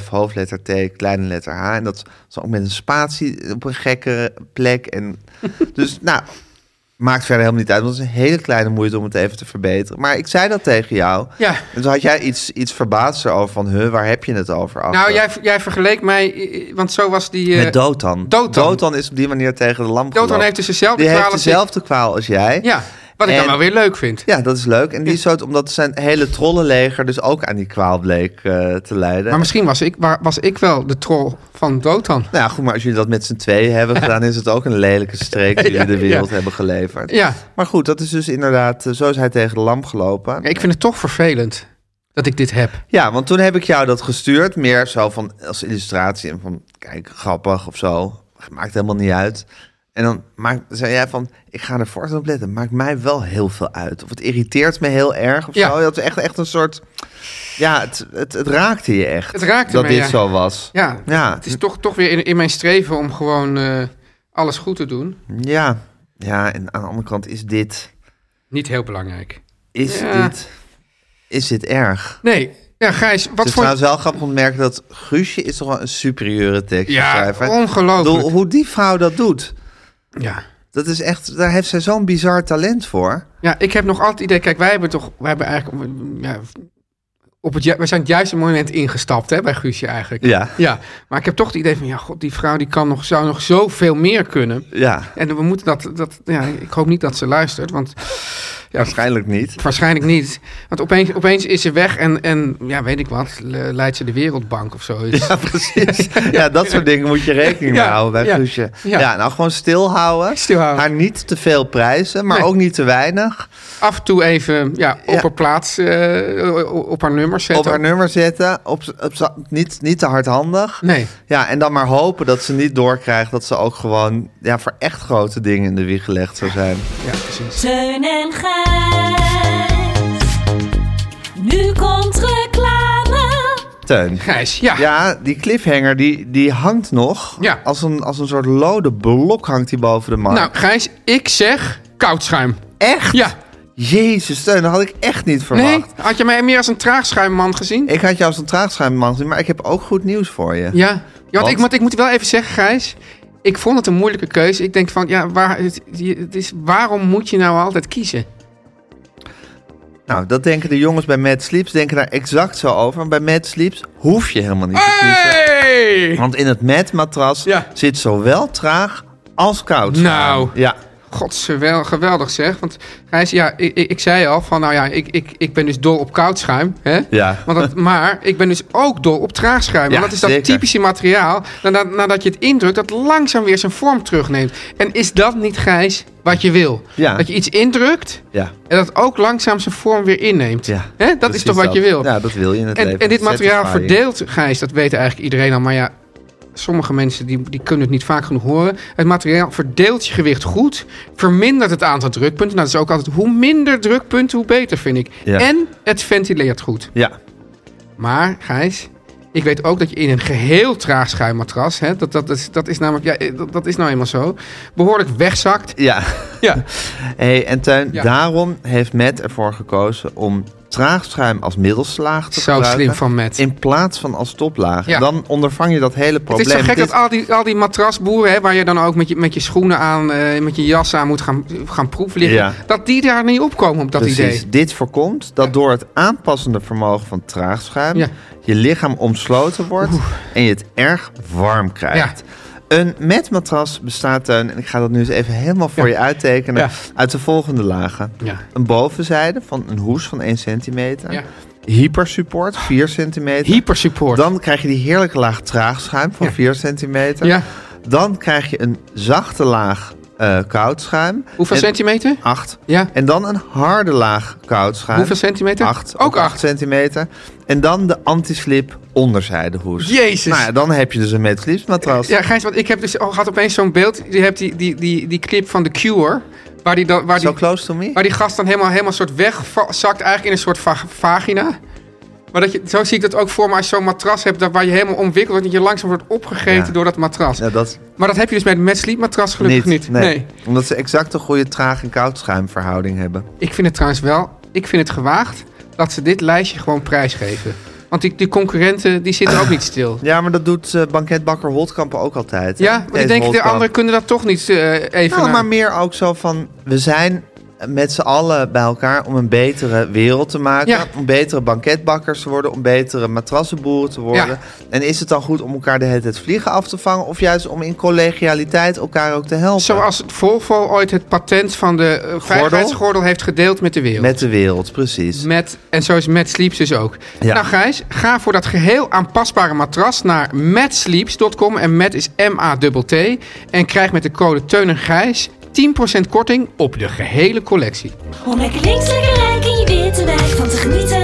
Speaker 2: F, hoofdletter T, kleine letter H. En dat is ook met een spatie op een gekke plek. En dus, nou, maakt verder helemaal niet uit. Want het is een hele kleine moeite om het even te verbeteren. Maar ik zei dat tegen jou.
Speaker 3: Ja.
Speaker 2: En toen had jij iets, iets verbaasd over van, huh, waar heb je het over?
Speaker 3: Nou,
Speaker 2: Achter.
Speaker 3: jij, jij vergeleek mij, eh, eh, want zo was die... eh,
Speaker 2: Met Dotan.
Speaker 3: Dotan.
Speaker 2: is op die manier tegen de lamp
Speaker 3: Dotan
Speaker 2: gelopen.
Speaker 3: heeft dus dezelfde
Speaker 2: Die
Speaker 3: kwaal
Speaker 2: heeft
Speaker 3: als ik.
Speaker 2: dezelfde kwaal als jij.
Speaker 3: Ja, wat ik dan
Speaker 2: En-
Speaker 3: wel weer leuk vind.
Speaker 2: Ja, dat is leuk. En die soort, omdat zijn hele trollenleger dus ook aan die kwaal bleek eh, te leiden.
Speaker 3: Maar misschien was ik, wa- was ik wel de troll van Dotan.
Speaker 2: Nou ja, goed, maar als jullie dat met z'n tweeën hebben gedaan, is het ook een lelijke streek die jullie de wereld hebben geleverd.
Speaker 3: Ja,
Speaker 2: Maar goed, dat is dus inderdaad, eh, zo is hij tegen de lamp gelopen.
Speaker 3: ik vind het toch vervelend dat ik dit heb.
Speaker 2: Ja, want toen heb ik jou dat gestuurd, meer zo van als illustratie en van kijk, grappig of zo. Maakt helemaal niet uit. En dan maak, zei jij van, ik ga er voortaan op letten. Maakt mij wel heel veel uit. Of het irriteert me heel erg of
Speaker 3: Ja.
Speaker 2: zo. Dat is echt, echt een soort... Ja, het, het, het raakte je echt.
Speaker 3: Het raakte
Speaker 2: Dat
Speaker 3: me,
Speaker 2: dit
Speaker 3: ja.
Speaker 2: zo was.
Speaker 3: Ja,
Speaker 2: Ja.
Speaker 3: het is toch, toch weer in, in mijn streven om gewoon eh, alles goed te doen.
Speaker 2: Ja. ja, en aan de andere kant is dit...
Speaker 3: Niet heel belangrijk.
Speaker 2: Is
Speaker 3: Ja.
Speaker 2: dit... Is dit erg?
Speaker 3: Nee, ja, Gijs, wat
Speaker 2: Het is
Speaker 3: voor...
Speaker 2: trouwens wel grappig om te merken dat Guusje is toch wel een superieure
Speaker 3: Ja,
Speaker 2: tekstschrijver.
Speaker 3: ongelooflijk.
Speaker 2: Doel, hoe die vrouw dat doet,
Speaker 3: Ja.
Speaker 2: dat is echt, daar heeft zij zo'n bizar talent voor.
Speaker 3: ja, ik heb nog altijd het idee... Kijk, wij hebben toch... Wij hebben eigenlijk... Ja, op het, ju- wij zijn het juiste moment ingestapt, hè, bij Guusje eigenlijk.
Speaker 2: Ja.
Speaker 3: Ja, maar ik heb toch het idee van... Ja, god, die vrouw die kan nog, zou nog zoveel meer kunnen.
Speaker 2: Ja,
Speaker 3: En we moeten dat... dat ja, ik hoop niet dat ze luistert, want... Ja,
Speaker 2: waarschijnlijk niet.
Speaker 3: Waarschijnlijk niet. Want opeens, opeens is ze weg en, en ja, weet ik wat, le- leidt ze de Wereldbank of Dus zoiets.
Speaker 2: Ja, precies. Ja, dat soort dingen moet je rekening mee
Speaker 3: Ja,
Speaker 2: houden bij
Speaker 3: ja,
Speaker 2: Guusje.
Speaker 3: ja.
Speaker 2: Ja. nou gewoon stilhouden.
Speaker 3: Stilhouden.
Speaker 2: Haar niet te veel prijzen, maar
Speaker 3: Nee.
Speaker 2: ook niet te weinig.
Speaker 3: Af en toe even ja, op
Speaker 2: Ja.
Speaker 3: haar plaats, eh, op haar nummer zetten.
Speaker 2: Op haar nummer zetten, op, z- op, z- niet, niet te hardhandig.
Speaker 3: Nee.
Speaker 2: Ja, en dan maar hopen dat ze niet doorkrijgt dat ze ook gewoon ja, voor echt grote dingen in de wieg gelegd zou zijn.
Speaker 3: Ja, precies.
Speaker 7: Teun en Gijs. Nu komt reclame.
Speaker 2: Teun.
Speaker 3: Gijs, ja.
Speaker 2: Ja, die cliffhanger die, die hangt nog.
Speaker 3: Ja.
Speaker 2: Als, een, als een soort lode blok hangt die boven de markt.
Speaker 3: Nou, Gijs, ik zeg koudschuim.
Speaker 2: echt?
Speaker 3: Ja.
Speaker 2: Jezus, steun, dat had ik echt niet
Speaker 3: Nee?
Speaker 2: verwacht.
Speaker 3: Had je mij meer als een traagschuimman gezien?
Speaker 2: Ik had jou als een traagschuimman gezien, maar ik heb ook goed nieuws voor je.
Speaker 3: Ja. ja want,
Speaker 2: Want?
Speaker 3: Ik, want ik moet wel even zeggen, Gijs. Ik vond het een moeilijke keuze. Ik denk van, ja, waar, het, je- het is, waarom moet je nou altijd kiezen?
Speaker 2: Nou, dat denken de jongens bij Mad Sleeps, denken daar exact zo over. Want bij Mad Sleeps hoef je helemaal niet te kiezen.
Speaker 3: Hey!
Speaker 2: Want in het Mad-matras
Speaker 3: Eh. Ja.
Speaker 2: zit zowel traag als koud.
Speaker 3: Nou.
Speaker 2: Ja.
Speaker 3: Godswel, geweldig zeg. Want Gijs, ja, ik, ik, ik zei al van, nou ja, ik, ik, ik ben dus dol op koudschuim. Hè?
Speaker 2: Ja.
Speaker 3: Want dat, maar ik ben dus ook dol op
Speaker 2: Ja,
Speaker 3: traagschuim. want dat is dat
Speaker 2: zeker.
Speaker 3: typische materiaal, nadat, nadat je het indrukt, dat langzaam weer zijn vorm terugneemt. En is dat niet, Gijs, wat je wil?
Speaker 2: Ja.
Speaker 3: Dat je iets indrukt
Speaker 2: Ja.
Speaker 3: en dat ook langzaam zijn vorm weer inneemt.
Speaker 2: ja.
Speaker 3: Hè? Dat is
Speaker 2: Precies
Speaker 3: toch wat je wil?
Speaker 2: Ja, dat wil je in het
Speaker 3: En,
Speaker 2: leven.
Speaker 3: en dit materiaal
Speaker 2: Satisfying.
Speaker 3: verdeelt, Gijs, dat weet eigenlijk iedereen al. Maar ja, sommige mensen die, die kunnen het niet vaak genoeg horen. Het materiaal verdeelt je gewicht goed, vermindert het aantal drukpunten. Nou, dat is ook altijd hoe minder drukpunten, hoe beter, vind ik.
Speaker 2: Ja.
Speaker 3: En het ventileert goed.
Speaker 2: Ja.
Speaker 3: Maar, Gijs, ik weet ook dat je in een geheel traag schuimmatras, hè, dat, dat, is, dat is namelijk, ja, eh, dat, dat is nou eenmaal zo, behoorlijk wegzakt.
Speaker 2: Ja.
Speaker 3: Ja.
Speaker 2: Hey, en Tuin,
Speaker 3: Ja.
Speaker 2: daarom heeft Matt ervoor gekozen om traagschuim als middelslaag te
Speaker 3: Zo
Speaker 2: gebruiken.
Speaker 3: slim van Matt.
Speaker 2: In plaats van als toplaag.
Speaker 3: Ja.
Speaker 2: Dan ondervang je dat hele
Speaker 3: Het
Speaker 2: probleem.
Speaker 3: is zo gek
Speaker 2: Dit-
Speaker 3: dat al die, al die matrasboeren, hè, waar je dan ook met je, met je schoenen aan, eh, met je jas aan moet gaan, gaan proefliggen,
Speaker 2: Ja.
Speaker 3: dat die daar niet opkomen op dat
Speaker 2: Precies,
Speaker 3: idee.
Speaker 2: dit voorkomt dat door het aanpassende vermogen van traagschuim...
Speaker 3: Ja.
Speaker 2: je lichaam omsloten wordt en je het erg warm krijgt. Een matmatras bestaat, Teun, en ik ga dat nu eens even helemaal voor je uittekenen,
Speaker 3: Ja.
Speaker 2: uit de volgende lagen.
Speaker 3: Ja.
Speaker 2: Een bovenzijde van een hoes van 1 centimeter.
Speaker 3: Ja.
Speaker 2: Hypersupport, 4 centimeter.
Speaker 3: Hypersupport.
Speaker 2: Dan krijg je die heerlijke laag traagschuim van
Speaker 3: Ja.
Speaker 2: 4 centimeter.
Speaker 3: Ja.
Speaker 2: Dan krijg je een zachte laag eh koud schuim.
Speaker 3: Hoeveel
Speaker 2: En-
Speaker 3: centimeter?
Speaker 2: 8.
Speaker 3: Ja.
Speaker 2: En dan een harde laag koud schuim.
Speaker 3: Hoeveel centimeter?
Speaker 2: 8.
Speaker 3: Ook acht.
Speaker 2: centimeter. En dan de antislip onderzijde hoes.
Speaker 3: Jezus.
Speaker 2: Nou ja, dan heb je dus een matras.
Speaker 3: Ja, Gijs, want ik heb dus, oh, had opeens zo'n beeld. Je hebt die, die, die, die clip van The Cure. Waar die, dan, waar
Speaker 2: So
Speaker 3: die,
Speaker 2: close to me?
Speaker 3: waar die gast dan helemaal, helemaal soort wegzakt eigenlijk in een soort va- vagina. Maar dat je, zo zie ik dat ook voor me als je zo'n matras hebt dat, waar je helemaal omwikkeld wordt. Dat je langzaam wordt opgegeten
Speaker 2: Ja.
Speaker 3: door dat matras.
Speaker 2: Ja, dat
Speaker 3: Maar dat heb je dus met Mad Sleep matras gelukkig niet.
Speaker 2: Nee. Omdat ze exact een goede traag- en koudschuimverhouding hebben.
Speaker 3: Ik vind het trouwens wel, ik vind het gewaagd dat ze dit lijstje gewoon prijsgeven. Want die, die concurrenten, die zitten ook niet stil.
Speaker 2: Ja, maar dat doet eh, banketbakker Holtkamp ook altijd. hè?
Speaker 3: Ja, maar
Speaker 2: Kees
Speaker 3: ik denk, de
Speaker 2: Holtkamp.
Speaker 3: anderen kunnen dat toch niet eh, even...
Speaker 2: Nou,
Speaker 3: naar-
Speaker 2: maar meer ook zo van, we zijn met z'n allen bij elkaar om een betere wereld te maken.
Speaker 3: Ja.
Speaker 2: Om betere banketbakkers te worden, om betere matrassenboeren te worden. En is het dan goed om elkaar de hele tijd vliegen af te vangen? Of juist om in collegialiteit elkaar ook te helpen?
Speaker 3: Zoals Volvo ooit het patent van de eh, veiligheidsgordel heeft gedeeld met de wereld.
Speaker 2: Met de wereld, precies.
Speaker 3: Met, en zo is Mad Sleeps dus ook.
Speaker 2: Ja.
Speaker 3: Nou Gijs, ga voor dat geheel aanpasbare matras naar matsleeps.com. En Mat is M-A-T-T. En krijg met de code Teun en Gijs 10% korting op de gehele collectie.
Speaker 7: Om lekker links, lekker rijk in je witte wijk van te genieten.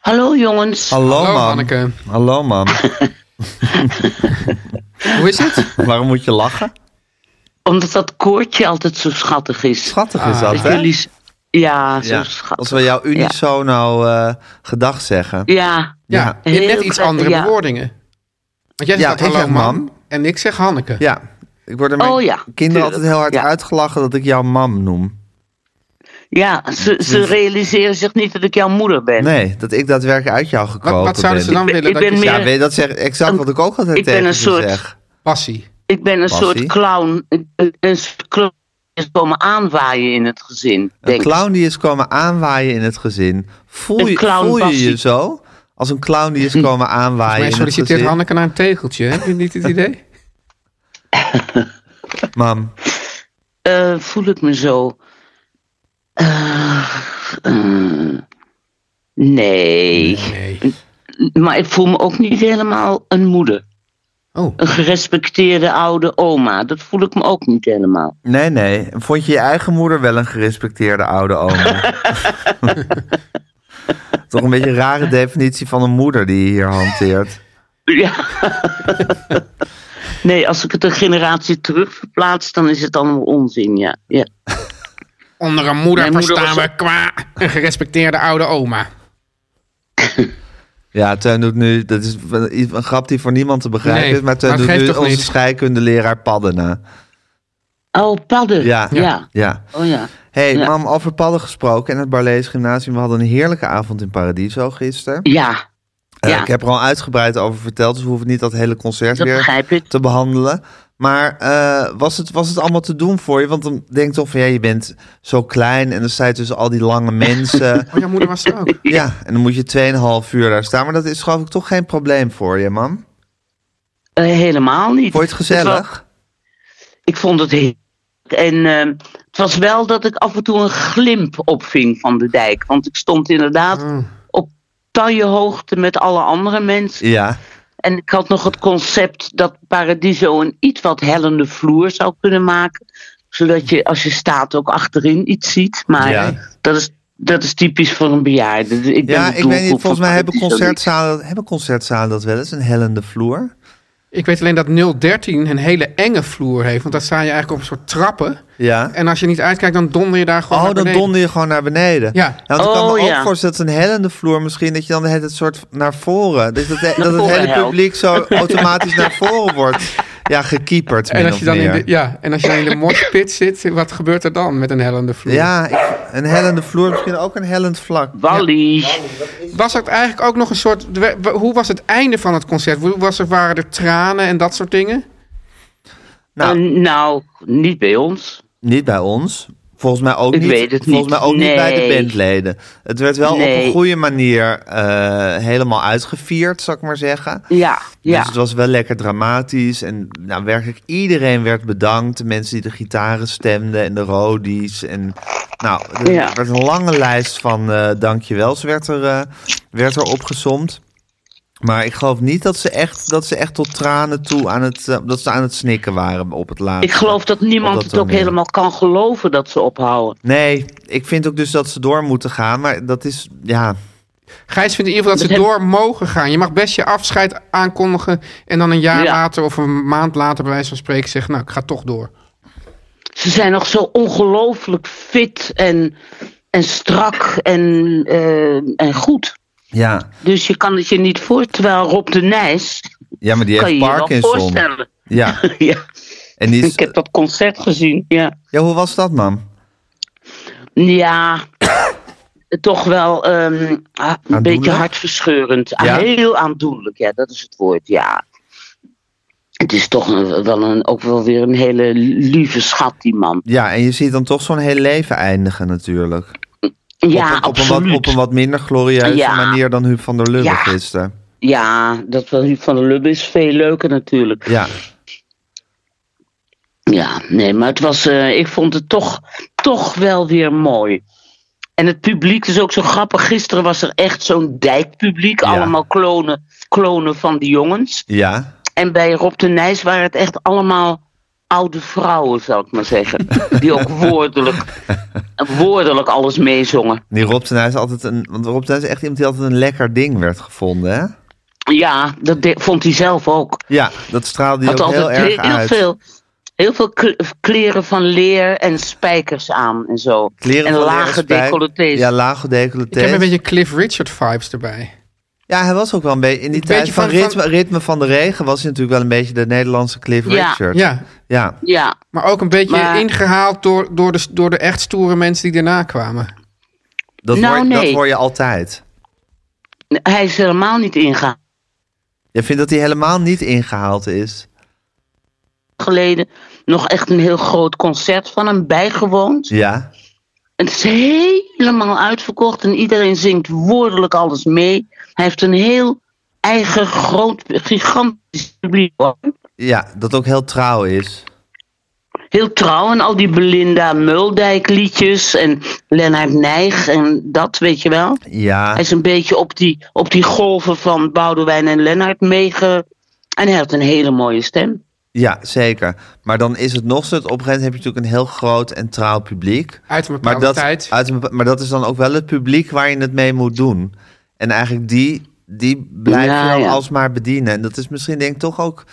Speaker 8: Hallo jongens.
Speaker 2: Hallo,
Speaker 3: Hallo,
Speaker 2: man.
Speaker 3: Hanneke.
Speaker 2: Hallo man.
Speaker 3: Hoe is het?
Speaker 2: Waarom moet je lachen?
Speaker 8: Omdat dat koortje altijd zo schattig is.
Speaker 2: Schattig
Speaker 3: Ah,
Speaker 2: is dat,
Speaker 8: Dat
Speaker 2: hè?
Speaker 8: jullie... s- Ja, zo
Speaker 2: Ja,
Speaker 8: schattig.
Speaker 2: als we jouw unisono eh gedag zeggen.
Speaker 8: Ja.
Speaker 3: Ja,
Speaker 8: Ja.
Speaker 3: in net
Speaker 8: Heel
Speaker 3: iets
Speaker 8: prettig,
Speaker 3: andere
Speaker 8: ja.
Speaker 3: bewoordingen. Want jij
Speaker 2: Ja,
Speaker 3: zegt
Speaker 2: ik
Speaker 3: hallo
Speaker 2: zeg
Speaker 3: man.
Speaker 2: mam.
Speaker 3: En ik zeg Hanneke.
Speaker 2: Ja, ik word door mijn
Speaker 8: Oh ja,
Speaker 2: kinderen
Speaker 8: tuurlijk,
Speaker 2: altijd heel hard
Speaker 8: ja.
Speaker 2: uitgelachen dat ik jou mam noem.
Speaker 8: Ja, ze, ze realiseren zich niet dat ik jouw moeder ben.
Speaker 2: Nee, dat ik daadwerkelijk uit jou gekropen
Speaker 3: Wat, wat zouden ze
Speaker 2: ben.
Speaker 3: dan
Speaker 8: Ik ben-
Speaker 3: willen dat
Speaker 8: ik
Speaker 3: je
Speaker 8: ben
Speaker 3: zegt?
Speaker 8: meer-
Speaker 2: Ja, weet je, dat zeg exact wat ik ook altijd
Speaker 8: Ik ben
Speaker 2: tegen
Speaker 8: een
Speaker 2: ze
Speaker 8: soort-
Speaker 2: zeg.
Speaker 3: Passie.
Speaker 8: Ik ben een
Speaker 2: Passie.
Speaker 8: soort clown. Een, een soort clown is komen aanwaaien in het gezin.
Speaker 2: Een
Speaker 8: Denk. ik.
Speaker 2: clown die is komen aanwaaien in het gezin. Voel
Speaker 8: Een
Speaker 2: je,
Speaker 8: clown
Speaker 2: voel je je
Speaker 8: passie. Hm.
Speaker 2: zo? Als een clown die is komen aanwaaien
Speaker 3: Maar
Speaker 2: in het
Speaker 3: solliciteert
Speaker 2: gezin.
Speaker 3: Hanneke naar een tegeltje. Heb je niet het idee?
Speaker 2: Mam,
Speaker 8: Eh, voel ik me zo. Eh, eh, nee.
Speaker 3: Nee.
Speaker 8: Maar ik voel me ook niet helemaal een moeder.
Speaker 3: Oh.
Speaker 8: Een gerespecteerde oude oma. Dat voel ik me ook niet helemaal.
Speaker 2: nee, nee. Vond je je eigen moeder wel een gerespecteerde oude oma? Toch een beetje een rare definitie van een moeder die je hier hanteert.
Speaker 8: Ja. nee, als ik het een generatie terug verplaats, dan is het allemaal onzin, ja. ja.
Speaker 3: Onder een moeder
Speaker 8: Mijn moeder
Speaker 3: verstaan
Speaker 8: was-
Speaker 3: we qua een gerespecteerde oude oma.
Speaker 2: Ja, Teun doet nu, dat is een een grap die voor niemand te begrijpen
Speaker 3: Nee,
Speaker 2: is, maar Teun
Speaker 3: maar het
Speaker 2: doet
Speaker 3: geeft
Speaker 2: nu
Speaker 3: toch
Speaker 2: onze
Speaker 3: niet?
Speaker 2: scheikundeleraar padden na.
Speaker 8: Oh, padden.
Speaker 2: Ja,
Speaker 8: ja.
Speaker 2: ja.
Speaker 8: Oh ja.
Speaker 2: hey,
Speaker 8: Ja.
Speaker 2: mam, over padden gesproken en het Barlees Gymnasium. We hadden een heerlijke avond in Paradiso gisteren.
Speaker 8: Ja,
Speaker 2: Eh,
Speaker 8: Ja.
Speaker 2: ik heb er al uitgebreid over verteld, dus we hoeven niet dat hele concert
Speaker 8: dat
Speaker 2: weer
Speaker 8: begrijp ik.
Speaker 2: te behandelen. Maar eh, was, het, was het allemaal te doen voor je? Want dan denk je toch van, ja, je bent zo klein en dan sta je tussen al die lange mensen.
Speaker 3: Oh, jouw moeder was er ook.
Speaker 2: ja, en dan moet je 2,5 uur daar staan. Maar dat is geloof ik toch geen probleem voor je, mam?
Speaker 8: Eh, helemaal niet.
Speaker 2: Vond je het
Speaker 8: was-
Speaker 2: gezellig?
Speaker 8: ik vond het heerlijk. En eh, het was wel dat ik af en toe een glimp opving van de dijk. Want ik stond inderdaad
Speaker 2: Mm.
Speaker 8: op hoogte met alle andere mensen.
Speaker 2: Ja.
Speaker 8: En ik had nog het concept dat Paradiso een iets wat hellende vloer zou kunnen maken. Zodat je als je staat ook achterin iets ziet. Maar
Speaker 2: Ja.
Speaker 8: dat, is, dat is typisch voor een bejaarde. Dus Ik ben
Speaker 2: Ja,
Speaker 8: de
Speaker 2: ik weet niet.
Speaker 8: doelgroep
Speaker 2: Volgens
Speaker 8: van
Speaker 2: mij hebben
Speaker 8: Paradiso
Speaker 2: concertzalen, hebben concertzalen dat wel eens, een hellende vloer.
Speaker 3: Ik weet alleen dat 013 een hele enge vloer heeft. Want daar sta je eigenlijk op een soort trappen.
Speaker 2: Ja.
Speaker 3: En als je niet uitkijkt, dan donder je daar gewoon
Speaker 2: Oh,
Speaker 3: naar
Speaker 2: dan
Speaker 3: beneden.
Speaker 2: donder je gewoon naar beneden.
Speaker 3: Ja.
Speaker 2: want ik kan
Speaker 8: Oh,
Speaker 2: me ook
Speaker 8: ja.
Speaker 2: voorstellen dat een hellende vloer misschien dat je dan het soort naar voren, dat, dat, dat het
Speaker 8: voren
Speaker 2: hele
Speaker 8: helpt.
Speaker 2: publiek zo automatisch naar voren wordt Ja, gekieperd.
Speaker 3: En als, je dan in de, ja, en als je dan in de moshpit zit, wat gebeurt er dan met een hellende vloer?
Speaker 2: Ja, ik- een hellende vloer, misschien ook een hellend vlak.
Speaker 8: Wally.
Speaker 3: Was het eigenlijk ook nog een soort... Hoe was het einde van het concert? Hoe Was er, waren er tranen en dat soort dingen?
Speaker 2: Nou,
Speaker 8: Eh, nou, niet bij ons.
Speaker 2: niet bij ons. Volgens mij ook
Speaker 8: Ik
Speaker 2: niet,
Speaker 8: weet het
Speaker 2: volgens
Speaker 8: niet.
Speaker 2: Mij ook niet bij de
Speaker 8: Nee.
Speaker 2: bandleden. Het werd wel op een
Speaker 8: Nee.
Speaker 2: goede manier eh, helemaal uitgevierd, zal ik maar zeggen.
Speaker 8: Ja, ja.
Speaker 2: Dus het was wel lekker dramatisch. En nou, werkelijk iedereen werd bedankt. De mensen die de gitaren stemden en de rodies. En nou, er
Speaker 8: Ja.
Speaker 2: werd een lange lijst van eh dankjewels werd er, eh, werd er opgezomd. Maar ik geloof niet dat ze echt, dat ze echt tot tranen toe aan het, eh, dat ze aan het snikken waren op het laatste.
Speaker 8: Ik geloof dat
Speaker 2: Op
Speaker 8: niemand
Speaker 2: dat
Speaker 8: het ook
Speaker 2: toneel.
Speaker 8: helemaal kan geloven dat ze ophouden.
Speaker 2: Nee, ik vind ook dus dat ze door moeten gaan. Maar dat is, ja,
Speaker 3: Gijs vindt in ieder geval dat ze
Speaker 8: Dat heb-
Speaker 3: door mogen gaan. Je mag best je afscheid aankondigen en dan een jaar
Speaker 8: Ja.
Speaker 3: later of een maand later bij wijze van spreken zeggen... nou, ik ga toch door.
Speaker 8: Ze zijn nog zo ongelooflijk fit en, en strak en, eh, en goed.
Speaker 2: ja.
Speaker 8: Dus je kan het je niet voor. Terwijl Rob de Nijs,
Speaker 2: Ja, maar die
Speaker 8: kan je
Speaker 2: heeft
Speaker 8: je wel
Speaker 2: Parkinson.
Speaker 8: voorstellen.
Speaker 2: Ja,
Speaker 8: ja,
Speaker 2: en die is,
Speaker 8: ik heb dat concert gezien. Ja.
Speaker 2: ja, hoe was dat, man?
Speaker 8: Ja, toch wel ehm, ah, een beetje hartverscheurend. Ah,
Speaker 2: Ja?
Speaker 8: Heel aandoenlijk, ja, dat is het woord, ja. Het is toch een- wel een, ook wel weer een hele lieve schat, die man.
Speaker 2: Ja, en je ziet dan toch zo'n heel leven eindigen natuurlijk.
Speaker 8: Ja,
Speaker 2: op, een, op, een
Speaker 8: absoluut.
Speaker 2: wat, op een wat minder glorieuze
Speaker 8: Ja.
Speaker 2: manier dan Huub van der Lubbe
Speaker 8: Ja.
Speaker 2: gisteren.
Speaker 8: Ja, dat van Huub van der Lubbe is veel leuker natuurlijk.
Speaker 2: Ja,
Speaker 8: Ja, nee, maar het was, eh, ik vond het toch, toch wel weer mooi. En het publiek is ook zo grappig. Gisteren was er echt zo'n dijkpubliek.
Speaker 2: Ja.
Speaker 8: Allemaal klonen, klonen van die jongens.
Speaker 2: ja.
Speaker 8: En bij Rob de Nijs waren het echt allemaal oude vrouwen, zou ik maar zeggen. Die ook woordelijk, woordelijk alles meezongen.
Speaker 2: Die Rob ten Huis is altijd een... Want Rob ten Huis is echt iemand die altijd een lekker ding werd gevonden, hè?
Speaker 8: Ja, dat de- vond hij zelf ook.
Speaker 2: Ja, dat straalde hij
Speaker 8: Had
Speaker 2: ook heel
Speaker 8: altijd
Speaker 2: erg
Speaker 8: heel, heel
Speaker 2: uit.
Speaker 8: veel, heel veel kle- kleren van leer en spijkers aan en zo.
Speaker 2: Kleren
Speaker 8: en
Speaker 2: van
Speaker 8: lage
Speaker 2: Lerenspijk.
Speaker 8: decolletés.
Speaker 2: Ja, lage decolletés.
Speaker 3: Ik heb een beetje Cliff Richard vibes erbij.
Speaker 2: Ja, hij was ook wel een beetje... In die
Speaker 3: Een
Speaker 2: tijd
Speaker 3: beetje
Speaker 2: van,
Speaker 3: van-
Speaker 2: ritme, ritme van de regen was hij natuurlijk wel een beetje de Nederlandse Cliff
Speaker 8: Ja.
Speaker 2: Richard.
Speaker 3: Ja,
Speaker 2: ja.
Speaker 8: ja.
Speaker 3: maar ook een beetje
Speaker 8: Maar-
Speaker 3: ingehaald door, door, de, door de echt stoere mensen die daarna kwamen.
Speaker 2: Dat,
Speaker 8: Nou,
Speaker 2: hoor, dat
Speaker 8: nee.
Speaker 2: hoor je altijd.
Speaker 8: Hij is helemaal niet ingehaald.
Speaker 2: Je vindt dat hij helemaal niet ingehaald is.
Speaker 8: geleden nog echt een heel groot concert van hem bijgewoond.
Speaker 2: Ja,
Speaker 8: Het is helemaal uitverkocht en iedereen zingt woordelijk alles mee. Hij heeft een heel eigen, groot, gigantisch publiek.
Speaker 2: ja dat ook heel trouw is.
Speaker 8: Heel trouw en al die Belinda Muldijk liedjes en Lennart Nijg en dat, weet je wel.
Speaker 2: Ja.
Speaker 8: Hij is een beetje op die, op die golven van Boudewijn en Lennart meege... En hij had een hele mooie stem.
Speaker 2: Ja, zeker. Maar dan is het nog zo, dat op een gegeven moment heb je natuurlijk een heel groot en trouw publiek.
Speaker 3: Uit een
Speaker 2: Maar
Speaker 3: bepaalde
Speaker 2: dat,
Speaker 3: tijd.
Speaker 2: uit een bepa- maar dat is dan ook wel het publiek waar je het mee moet doen. En eigenlijk die, die blijf
Speaker 8: Ja,
Speaker 2: je dan
Speaker 8: ja.
Speaker 2: alsmaar bedienen. En dat is misschien denk ik toch ook...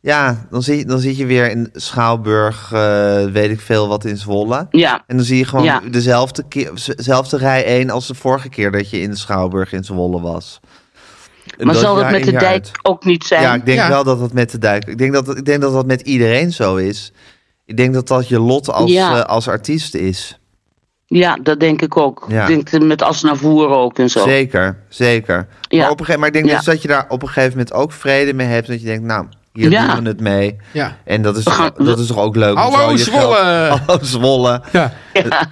Speaker 2: Ja, dan zit, dan zit je weer in Schouwburg, eh, weet ik veel wat, in Zwolle.
Speaker 8: Ja,
Speaker 2: En dan zie je gewoon
Speaker 8: Ja.
Speaker 2: dezelfde, keer, dezelfde rij 1 als de vorige keer dat je in de Schouwburg in Zwolle was.
Speaker 8: maar zal dat
Speaker 2: jaar
Speaker 8: met
Speaker 2: in,
Speaker 8: de
Speaker 2: jaar
Speaker 8: dijk
Speaker 2: uit.
Speaker 8: ook niet zijn?
Speaker 2: Ja, ik denk
Speaker 3: Ja.
Speaker 2: wel dat dat met de duik. Ik denk dat, ik denk dat dat met iedereen zo is. Ik denk dat dat je lot als,
Speaker 8: Ja.
Speaker 2: eh, als artiest is.
Speaker 8: Ja, dat denk ik ook.
Speaker 2: Ja.
Speaker 8: Ik denk eh, met Asnavoer ook en zo.
Speaker 2: Zeker, zeker.
Speaker 8: Ja.
Speaker 2: Maar, op een gegeven, maar ik denk
Speaker 8: Ja.
Speaker 2: dus dat je daar op een gegeven moment ook vrede mee hebt. Dat je denkt, nou, hier
Speaker 8: Ja.
Speaker 2: doen we het mee.
Speaker 3: Ja.
Speaker 2: En dat is,
Speaker 8: We gaan-
Speaker 2: dat is toch ook leuk. om
Speaker 3: Hallo,
Speaker 2: zo je geld-
Speaker 3: Zwolle!
Speaker 2: Hallo Zwolle.
Speaker 3: Ja,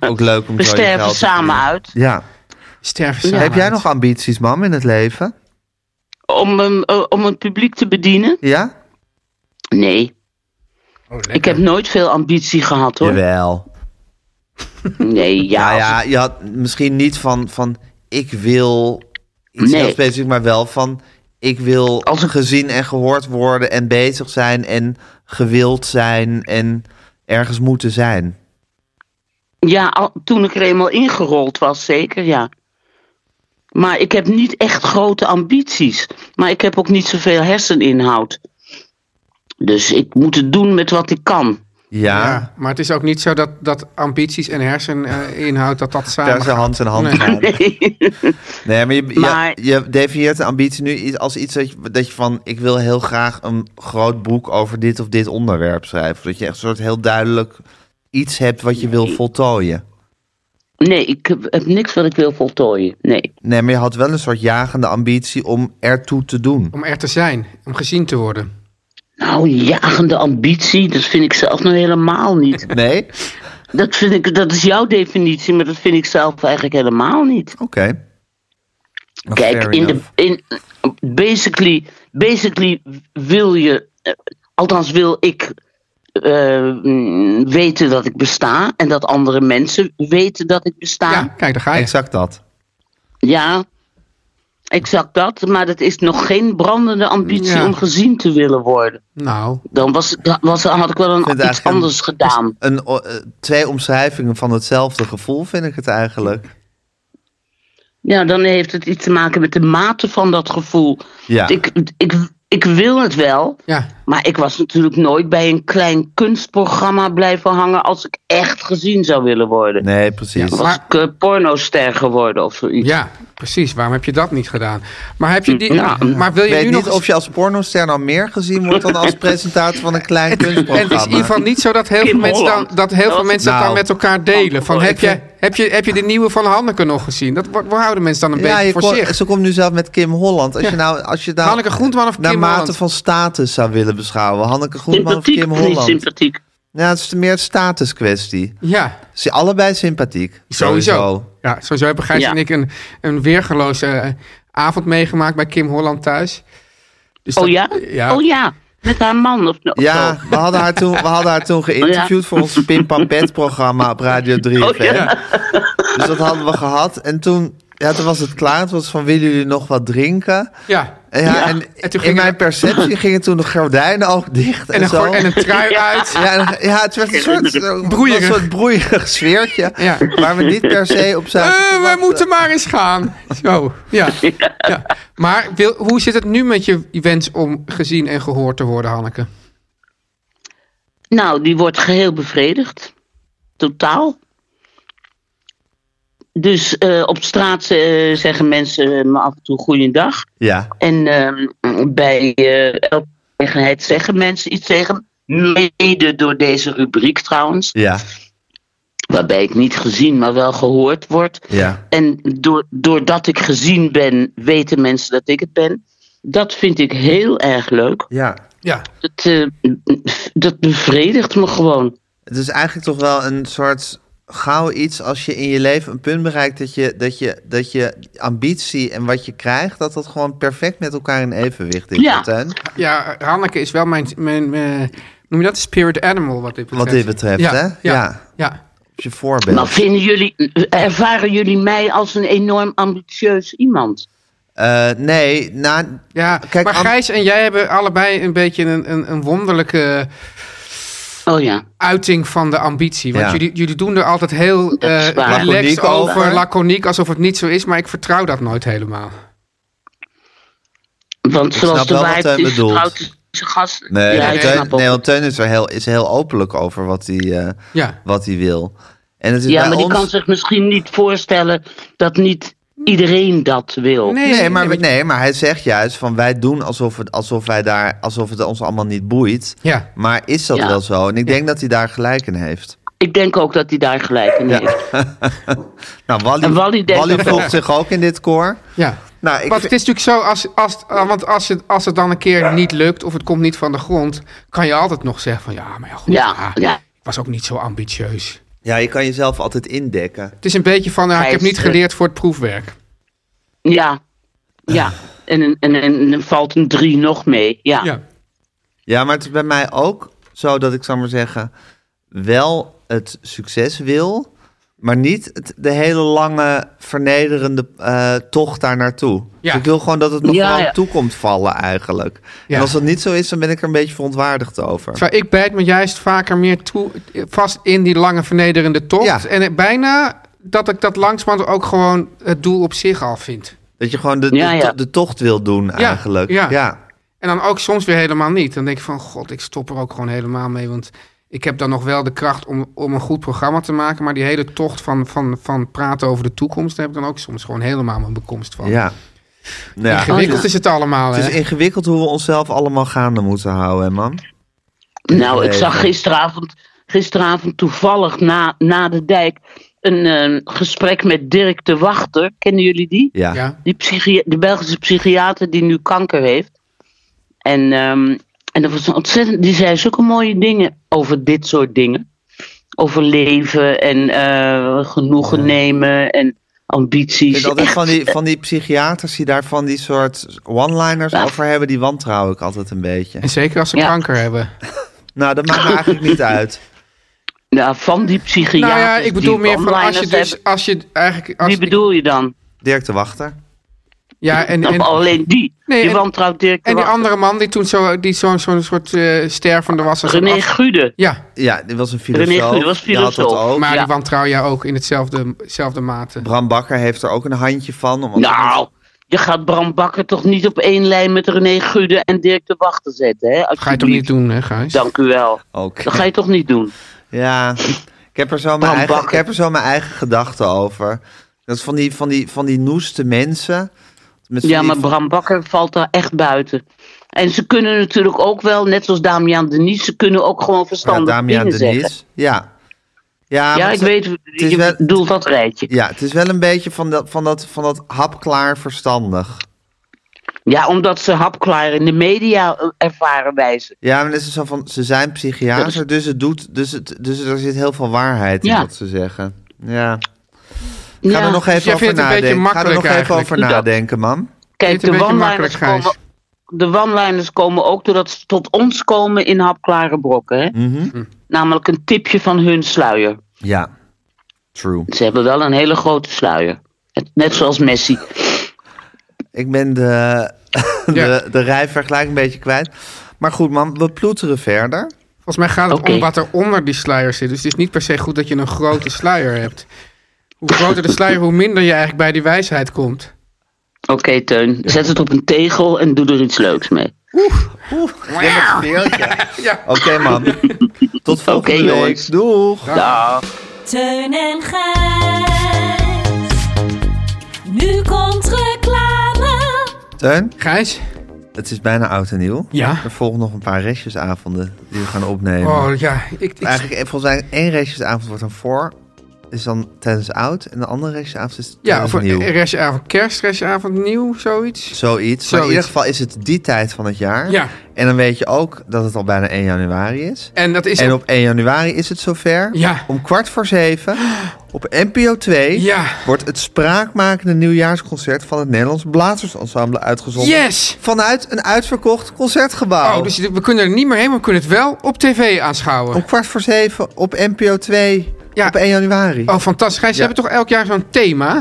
Speaker 2: Ook leuk om
Speaker 8: We
Speaker 2: zo je
Speaker 8: sterven
Speaker 2: geld te
Speaker 8: samen
Speaker 2: verdienen.
Speaker 8: uit.
Speaker 2: Ja.
Speaker 3: sterven samen.
Speaker 2: Heb jij
Speaker 3: uit.
Speaker 8: Oh,
Speaker 2: nog ambities, mam, in het leven?
Speaker 8: Om, een- eh, om een publiek te bedienen?
Speaker 2: Ja?
Speaker 8: Nee. ik heb nooit veel ambitie gehad hoor.
Speaker 2: Jawel.
Speaker 8: Nee, ja.
Speaker 2: Nou
Speaker 8: als-
Speaker 2: ja, je had misschien niet van, van ik wil iets
Speaker 8: Nee.
Speaker 2: heel specifiek, maar wel van ik wil
Speaker 8: Als ik-
Speaker 2: gezien en gehoord worden en bezig zijn en gewild zijn en ergens moeten zijn.
Speaker 8: Ja, al- toen ik er eenmaal ingerold was, zeker ja. Maar ik heb niet echt grote ambities. Maar ik heb ook niet zoveel herseninhoud. Dus ik moet het doen met wat ik kan.
Speaker 2: Ja,
Speaker 3: Ja, maar het is ook niet zo dat, dat ambities en herseninhoud dat dat samen.
Speaker 2: daar ze hand in hand
Speaker 3: Nee.
Speaker 2: gaan. Nee, maar je, je-
Speaker 8: Maar-
Speaker 2: je definieert de ambitie nu iets- als iets dat je, dat je van... ik wil heel graag een groot boek over dit of dit onderwerp schrijven. Dat je echt een soort heel duidelijk iets hebt wat je wil voltooien.
Speaker 8: Nee, ik heb heb niks wat ik wil voltooien. Nee.
Speaker 2: Nee, maar je had wel een soort jagende ambitie om ertoe te doen.
Speaker 3: Om er te zijn, om gezien te worden.
Speaker 8: Nou, jagende ambitie, dat vind ik zelf nou helemaal niet.
Speaker 2: Nee? Oké.
Speaker 8: Dat, vind ik, dat is jouw definitie, maar dat vind ik zelf eigenlijk helemaal niet.
Speaker 2: Nou,
Speaker 8: Kijk,
Speaker 2: fair
Speaker 8: in de,
Speaker 2: enough.
Speaker 8: in, basically, basically wil je, eh, althans wil ik eh, mm, weten dat ik besta en dat andere mensen weten dat ik besta.
Speaker 3: Ja, kijk, daar ga je.
Speaker 2: Exact dat.
Speaker 8: Ja, exact dat. Maar dat is nog geen brandende ambitie
Speaker 3: Ja.
Speaker 8: om gezien te willen worden.
Speaker 3: Nou,
Speaker 8: Dan was, dan was, had ik wel
Speaker 2: vind
Speaker 8: een, iets
Speaker 2: eigenlijk een-
Speaker 8: anders gedaan.
Speaker 2: Een, o- eh, twee omschrijvingen van hetzelfde gevoel vind ik het eigenlijk.
Speaker 8: Ja, dan heeft het iets te maken met de mate van dat gevoel.
Speaker 2: Ja.
Speaker 8: Ik, ik, ik wil het wel,
Speaker 3: ja.
Speaker 8: maar ik was natuurlijk nooit bij een klein kunstprogramma blijven hangen als ik echt gezien zou willen worden.
Speaker 2: Nee, precies.
Speaker 8: Dan
Speaker 3: Ja,
Speaker 8: was
Speaker 3: maar-
Speaker 8: ik eh, pornoster geworden of zoiets.
Speaker 3: ja, precies. Waarom heb je dat niet gedaan? Maar, heb je die,
Speaker 8: Ja.
Speaker 3: maar wil
Speaker 2: Ik
Speaker 3: je
Speaker 2: weet
Speaker 3: nu
Speaker 2: niet
Speaker 3: nog
Speaker 2: of je als pornoster dan meer gezien wordt dan als presentator van een klein
Speaker 8: dus
Speaker 2: kunstprogramma.
Speaker 3: En het is in ieder geval niet zo dat heel veel
Speaker 8: In
Speaker 3: mensen, dan,
Speaker 8: Holland.
Speaker 3: dat heel veel
Speaker 8: Dat-
Speaker 3: mensen dat
Speaker 2: Nou.
Speaker 3: dan met elkaar delen. Van,
Speaker 8: Oh,
Speaker 3: heb,
Speaker 8: ik
Speaker 3: je, heb, je, heb je de nieuwe van Hanneke nog gezien? Dat wo- houden mensen dan een
Speaker 2: ja,
Speaker 3: beetje
Speaker 2: je
Speaker 3: voor
Speaker 2: kon-
Speaker 3: zich.
Speaker 2: ze komt nu zelf met Kim Holland. Als
Speaker 3: Ja.
Speaker 2: je nou, als je nou
Speaker 3: Hanneke Groenteman of
Speaker 2: naar
Speaker 3: Kim
Speaker 2: mate
Speaker 3: Holland?
Speaker 2: van status zou willen beschouwen, Hanneke Groenteman of
Speaker 8: Sympathiek
Speaker 2: Kim
Speaker 8: of niet
Speaker 2: Holland.
Speaker 8: sympathiek?
Speaker 2: Ja, het is meer een status kwestie.
Speaker 3: Ja,
Speaker 2: Ze allebei sympathiek.
Speaker 3: sowieso. Ja, sowieso hebben Gijs
Speaker 8: Ja.
Speaker 3: en ik een, een weergeloze eh, avond meegemaakt bij Kim Holland thuis. Dus
Speaker 8: Oh
Speaker 3: dat-
Speaker 8: ja?
Speaker 3: ja?
Speaker 8: Oh ja, met haar man of, of zo.
Speaker 2: Ja, we hadden haar toen, we hadden haar toen geïnterviewd voor ons Pim Pam Pet programma op Radio 3
Speaker 8: Oh Oh, ja.
Speaker 2: Dus dat hadden we gehad. En toen, ja, toen was het klaar. Het was van, willen jullie nog wat drinken?
Speaker 3: Ja.
Speaker 2: En, ja,
Speaker 8: Ja.
Speaker 2: en,
Speaker 3: En toen
Speaker 2: in
Speaker 3: gingen
Speaker 2: mijn
Speaker 3: we-
Speaker 2: perceptie gingen toen de gordijnen ook dicht. En,
Speaker 3: En een,
Speaker 2: zo.
Speaker 3: gor- en een trui uit.
Speaker 2: Ja, en- ja, het werd een soort, eh,
Speaker 3: Broeierig.
Speaker 2: een soort broeierig sfeertje.
Speaker 3: Ja.
Speaker 2: Waar we niet per se op
Speaker 3: Eh,
Speaker 2: zouden te
Speaker 3: wij
Speaker 2: wachten.
Speaker 3: moeten maar eens gaan. Zo, ja. ja. Maar wil, hoe zit het nu met je wens om gezien en gehoord te worden, Hanneke?
Speaker 8: Nou, die wordt geheel bevredigd. Totaal. Dus eh, op straat eh, zeggen mensen eh, me af en toe goeiedag.
Speaker 2: Ja,
Speaker 8: En ehm, bij eh, elke gelegenheid zeggen mensen iets tegen. me. Mede door deze rubriek trouwens.
Speaker 2: ja,
Speaker 8: Waarbij ik niet gezien, maar wel gehoord word.
Speaker 2: ja.
Speaker 8: En door, doordat ik gezien ben, weten mensen dat ik het ben. Dat vind ik heel erg leuk.
Speaker 2: Ja.
Speaker 3: Ja.
Speaker 8: Dat, eh, dat bevredigt me gewoon.
Speaker 2: Het is eigenlijk toch wel een soort gauw iets als je in je leven een punt bereikt dat je, dat je, dat je ambitie en wat je krijgt, dat dat gewoon perfect met elkaar in evenwicht is.
Speaker 8: Ja.
Speaker 2: Martijn.
Speaker 3: Ja, Hanneke is wel mijn, mijn eh, noem je dat, spirit animal wat dit betreft.
Speaker 2: Wat dit betreft,
Speaker 3: ja,
Speaker 2: hè?
Speaker 3: Ja,
Speaker 2: Ja.
Speaker 3: ja.
Speaker 2: Als je voorbeeld.
Speaker 8: Maar vinden jullie, ervaren jullie mij als een enorm ambitieus iemand?
Speaker 2: Eh, nee, nou,
Speaker 3: Ja,
Speaker 2: Kijk,
Speaker 3: maar
Speaker 2: Am-
Speaker 3: Gijs en jij hebben allebei een beetje een, een, een wonderlijke
Speaker 8: Oh ja.
Speaker 3: uiting van de ambitie. Want
Speaker 2: Ja.
Speaker 3: jullie, jullie doen er altijd heel eh
Speaker 8: is waar.
Speaker 3: relaxed
Speaker 2: Laconiek
Speaker 3: over,
Speaker 2: over.
Speaker 3: laconiek, alsof het niet zo is. Maar ik vertrouw dat nooit helemaal.
Speaker 8: Want zoals
Speaker 2: snap
Speaker 8: de
Speaker 2: wel wat
Speaker 8: waarheid
Speaker 2: hij
Speaker 8: is,
Speaker 2: bedoelt.
Speaker 8: getrouwd is zijn gast.
Speaker 2: nee,
Speaker 8: ja,
Speaker 2: nee,
Speaker 8: ik
Speaker 2: Teun-
Speaker 8: snap ook.
Speaker 2: nee, want Teun is er heel, is heel openlijk over wat hij, eh,
Speaker 3: Ja.
Speaker 2: wat hij wil. En het is
Speaker 8: ja,
Speaker 2: Dus bij
Speaker 8: maar die
Speaker 2: ons...
Speaker 8: kan zich misschien niet voorstellen dat niet iedereen dat wil.
Speaker 3: Nee,
Speaker 2: Nee, maar,
Speaker 3: nee,
Speaker 2: nee, maar hij zegt juist van wij doen alsof het, alsof wij daar, alsof het ons allemaal niet boeit.
Speaker 3: Ja.
Speaker 2: Maar is dat
Speaker 8: Ja.
Speaker 2: wel zo? En ik denk dat hij daar gelijk in heeft.
Speaker 8: Ik denk ook dat hij daar gelijk in heeft.
Speaker 2: Nou,
Speaker 8: En
Speaker 2: Wally,
Speaker 8: Wally denkt
Speaker 2: Wally
Speaker 8: dat
Speaker 2: voelt
Speaker 8: ook.
Speaker 2: zich ook in dit koor.
Speaker 3: Ja.
Speaker 2: Nou, ik
Speaker 3: Want het is natuurlijk zo, als, als, ah, want als het, als het dan een keer niet lukt of het komt niet van de grond, kan je altijd nog zeggen van ja, maar ja, goed,
Speaker 8: Ja,
Speaker 3: ah,
Speaker 8: ja.
Speaker 3: ik was ook niet zo ambitieus.
Speaker 2: Ja, je kan jezelf altijd indekken.
Speaker 3: Het is een beetje van, ah, ik
Speaker 8: Hij
Speaker 3: heb
Speaker 8: is
Speaker 3: niet
Speaker 8: er-
Speaker 3: geleerd voor het proefwerk.
Speaker 8: Ja, ja. En, en, en, en dan valt een drie nog mee. Ja.
Speaker 3: Ja.
Speaker 2: Ja, maar het is bij mij ook zo dat ik, zal maar zeggen, wel het succes wil, maar niet het, de hele lange vernederende eh, tocht daar naartoe.
Speaker 3: Ja.
Speaker 2: Dus ik wil gewoon dat het nog
Speaker 8: Ja,
Speaker 2: gewoon
Speaker 8: ja.
Speaker 2: toe komt vallen eigenlijk.
Speaker 3: Ja.
Speaker 2: En als dat niet zo is, dan ben ik er een beetje verontwaardigd over.
Speaker 3: Terwijl ik bijt me juist vaker meer toe, vast in die lange vernederende tocht.
Speaker 2: Ja.
Speaker 3: En het- bijna dat ik dat langzamerhand ook gewoon het doel op zich al vind.
Speaker 2: Dat je gewoon de, de,
Speaker 8: Ja, ja.
Speaker 2: de tocht wil doen eigenlijk.
Speaker 3: ja.
Speaker 2: ja.
Speaker 3: En dan ook soms weer helemaal niet. Dan denk ik van, god, ik stop er ook gewoon helemaal mee. Want Ik heb dan nog wel de kracht om, om een goed programma te maken. Maar die hele tocht van, van, van praten over de toekomst... daar heb ik dan ook soms gewoon helemaal mijn bekomst van.
Speaker 2: Ja. Nou ja,
Speaker 8: Oh,
Speaker 3: Ingewikkeld is het allemaal,
Speaker 2: Het
Speaker 3: hè?
Speaker 2: is ingewikkeld hoe we onszelf allemaal gaande moeten houden, hè, man.
Speaker 8: Nou, ik
Speaker 2: Even.
Speaker 8: zag gisteravond, gisteravond toevallig na, na de dijk een eh, gesprek met Dirk de Wachter. Kennen jullie die?
Speaker 2: Ja.
Speaker 3: Ja.
Speaker 8: Die, psychi- die Belgische psychiater die nu kanker heeft. En, ehm, en dat was een ontzettend. Die zei zulke mooie dingen over dit soort dingen: over leven en eh, genoegen nemen en
Speaker 2: Ik
Speaker 8: ambities.
Speaker 2: vind altijd
Speaker 8: Echt,
Speaker 2: van die, van die psychiaters die daar van die soort one-liners
Speaker 8: Ja.
Speaker 2: over hebben, die wantrouw ik altijd een beetje.
Speaker 3: En zeker als ze
Speaker 8: Ja.
Speaker 3: kanker hebben.
Speaker 2: Nou, dat maakt me eigenlijk niet uit.
Speaker 8: ja, van die psychiater.
Speaker 3: nou ja, ik bedoel meer van als je dus... Als je eigenlijk... Als,
Speaker 8: Wie bedoel je dan?
Speaker 2: Dirk de Wachter.
Speaker 3: Ja, en,
Speaker 8: Of
Speaker 3: en,
Speaker 8: alleen die.
Speaker 3: Nee,
Speaker 8: die
Speaker 3: en-
Speaker 8: wantrouwt Dirk de
Speaker 3: en die
Speaker 8: Wachter.
Speaker 3: andere man die toen zo'n die zo'n zo'n soort eh, stervende was. als een
Speaker 8: René
Speaker 3: af-
Speaker 8: Gude.
Speaker 3: Ja,
Speaker 2: Ja, die was een
Speaker 8: Gude
Speaker 2: filosoof.
Speaker 8: was
Speaker 2: Die had dat
Speaker 8: filosoof.
Speaker 2: ook.
Speaker 3: maar
Speaker 8: Ja.
Speaker 3: die wantrouw jij ook in hetzelfde zelfde mate.
Speaker 2: Bram Bakker heeft er ook een handje van. Om
Speaker 8: Nou, je gaat Bram Bakker toch niet op één lijn met René Gude en Dirk de Wachter zetten, hè?
Speaker 3: Ga je toch niet
Speaker 8: Alsjeblieft.
Speaker 3: doen, hè, Gijs?
Speaker 8: Dank u wel.
Speaker 2: Ook.
Speaker 8: Dat ga je toch niet doen?
Speaker 2: Ja, ik heb er zo mijn
Speaker 8: Bram
Speaker 2: eigen, ik
Speaker 8: Bakker.
Speaker 2: heb er zo mijn eigen gedachten over. Dat is van die, van die, van die noeste mensen. Met van
Speaker 8: Ja,
Speaker 2: die-
Speaker 8: maar Bram Bakker valt daar echt buiten. En ze kunnen natuurlijk ook wel, net zoals Damian Denies, ze kunnen ook gewoon
Speaker 2: ja,
Speaker 8: verstandig
Speaker 2: Damian
Speaker 8: dingen
Speaker 2: Denies.
Speaker 8: zeggen.
Speaker 2: Ja. Ja,
Speaker 8: Ja,
Speaker 2: maar
Speaker 8: ik
Speaker 2: het-
Speaker 8: weet,
Speaker 2: is
Speaker 8: je
Speaker 2: wel-
Speaker 8: bedoelt dat rijtje.
Speaker 2: Ja, het is wel een beetje van dat, van dat, van dat hapklaar verstandig.
Speaker 8: Ja, omdat ze hapklaar in de media eh, ervaren wijzen.
Speaker 2: Ja, maar dan is het zo van, ze zijn psychiater, dus, het doet, dus, het, dus er zit heel veel waarheid in
Speaker 8: Ja.
Speaker 2: wat ze zeggen. Ja. Ga
Speaker 8: Ja,
Speaker 2: er nog even
Speaker 3: Dus jij
Speaker 2: over
Speaker 3: vindt het een beetje
Speaker 2: nadenken. Ga er nog
Speaker 3: makkelijk
Speaker 2: even
Speaker 3: eigenlijk.
Speaker 2: over
Speaker 8: Doe dat.
Speaker 2: nadenken, man.
Speaker 8: Kijk,
Speaker 3: Vind je het
Speaker 8: de
Speaker 3: een beetje
Speaker 8: one-liners
Speaker 3: makkelijk,
Speaker 8: komen, de one-liners komen ook doordat ze tot ons komen in hapklare brokken. Hè?
Speaker 2: Mhm.
Speaker 8: Namelijk een tipje van hun sluier.
Speaker 2: Ja. True.
Speaker 8: Ze hebben wel een hele grote sluier. Het- Net zoals Messi.
Speaker 2: Ik ben de,
Speaker 3: Ja.
Speaker 2: de, de rijvergelijking een beetje kwijt. Maar goed, man, we ploeteren verder.
Speaker 3: Volgens mij gaat het
Speaker 8: Oké.
Speaker 3: om wat er onder die sluier zit. Dus het is niet per se goed dat je een grote sluier hebt. Hoe groter de sluier, hoe minder je eigenlijk bij die wijsheid komt.
Speaker 8: Oké, Teun. Zet het op een tegel en doe er iets leuks mee.
Speaker 3: Ja.
Speaker 2: Oké, man. Tot volgende
Speaker 8: Oké,
Speaker 2: week.
Speaker 8: jongens.
Speaker 2: Doeg.
Speaker 8: Dag.
Speaker 7: Teun en Gijs. Nu komt reclame.
Speaker 2: Teun,
Speaker 3: Gijs?
Speaker 2: het is bijna oud en nieuw.
Speaker 3: Ja?
Speaker 2: Er volgen nog een paar restjesavonden die we gaan opnemen.
Speaker 3: Oh ja, ik, ik,
Speaker 2: Eigenlijk, eh, volgens mij, één restjesavond wordt dan voor. Is dan tijdens oud. En de andere restjesavond is
Speaker 3: ja,
Speaker 2: tijdens
Speaker 3: voor eh,
Speaker 2: nieuw.
Speaker 3: een restjeavond kerst, restjeavond nieuw, zoiets.
Speaker 2: Zoiets. Maar in
Speaker 3: Zoiets.
Speaker 2: ieder geval is het die tijd van het jaar.
Speaker 3: Ja.
Speaker 2: En dan weet je ook dat het al bijna 1 januari is.
Speaker 3: En dat is...
Speaker 2: En op 1 januari is het zover.
Speaker 3: Ja.
Speaker 2: Om kwart voor zeven op NPO 2
Speaker 3: Ja.
Speaker 2: wordt het spraakmakende nieuwjaarsconcert van het Nederlands Blazersensemble uitgezonden.
Speaker 3: Yes!
Speaker 2: Vanuit een uitverkocht concertgebouw.
Speaker 3: Oh, dus we kunnen er niet meer heen, maar we kunnen het wel op tv aanschouwen.
Speaker 2: Om kwart voor zeven op NPO 2
Speaker 3: Oh. Ja.
Speaker 2: op 1 januari.
Speaker 3: Oh, fantastisch. Gijs, ze
Speaker 2: Ja.
Speaker 3: hebben toch elk jaar zo'n thema?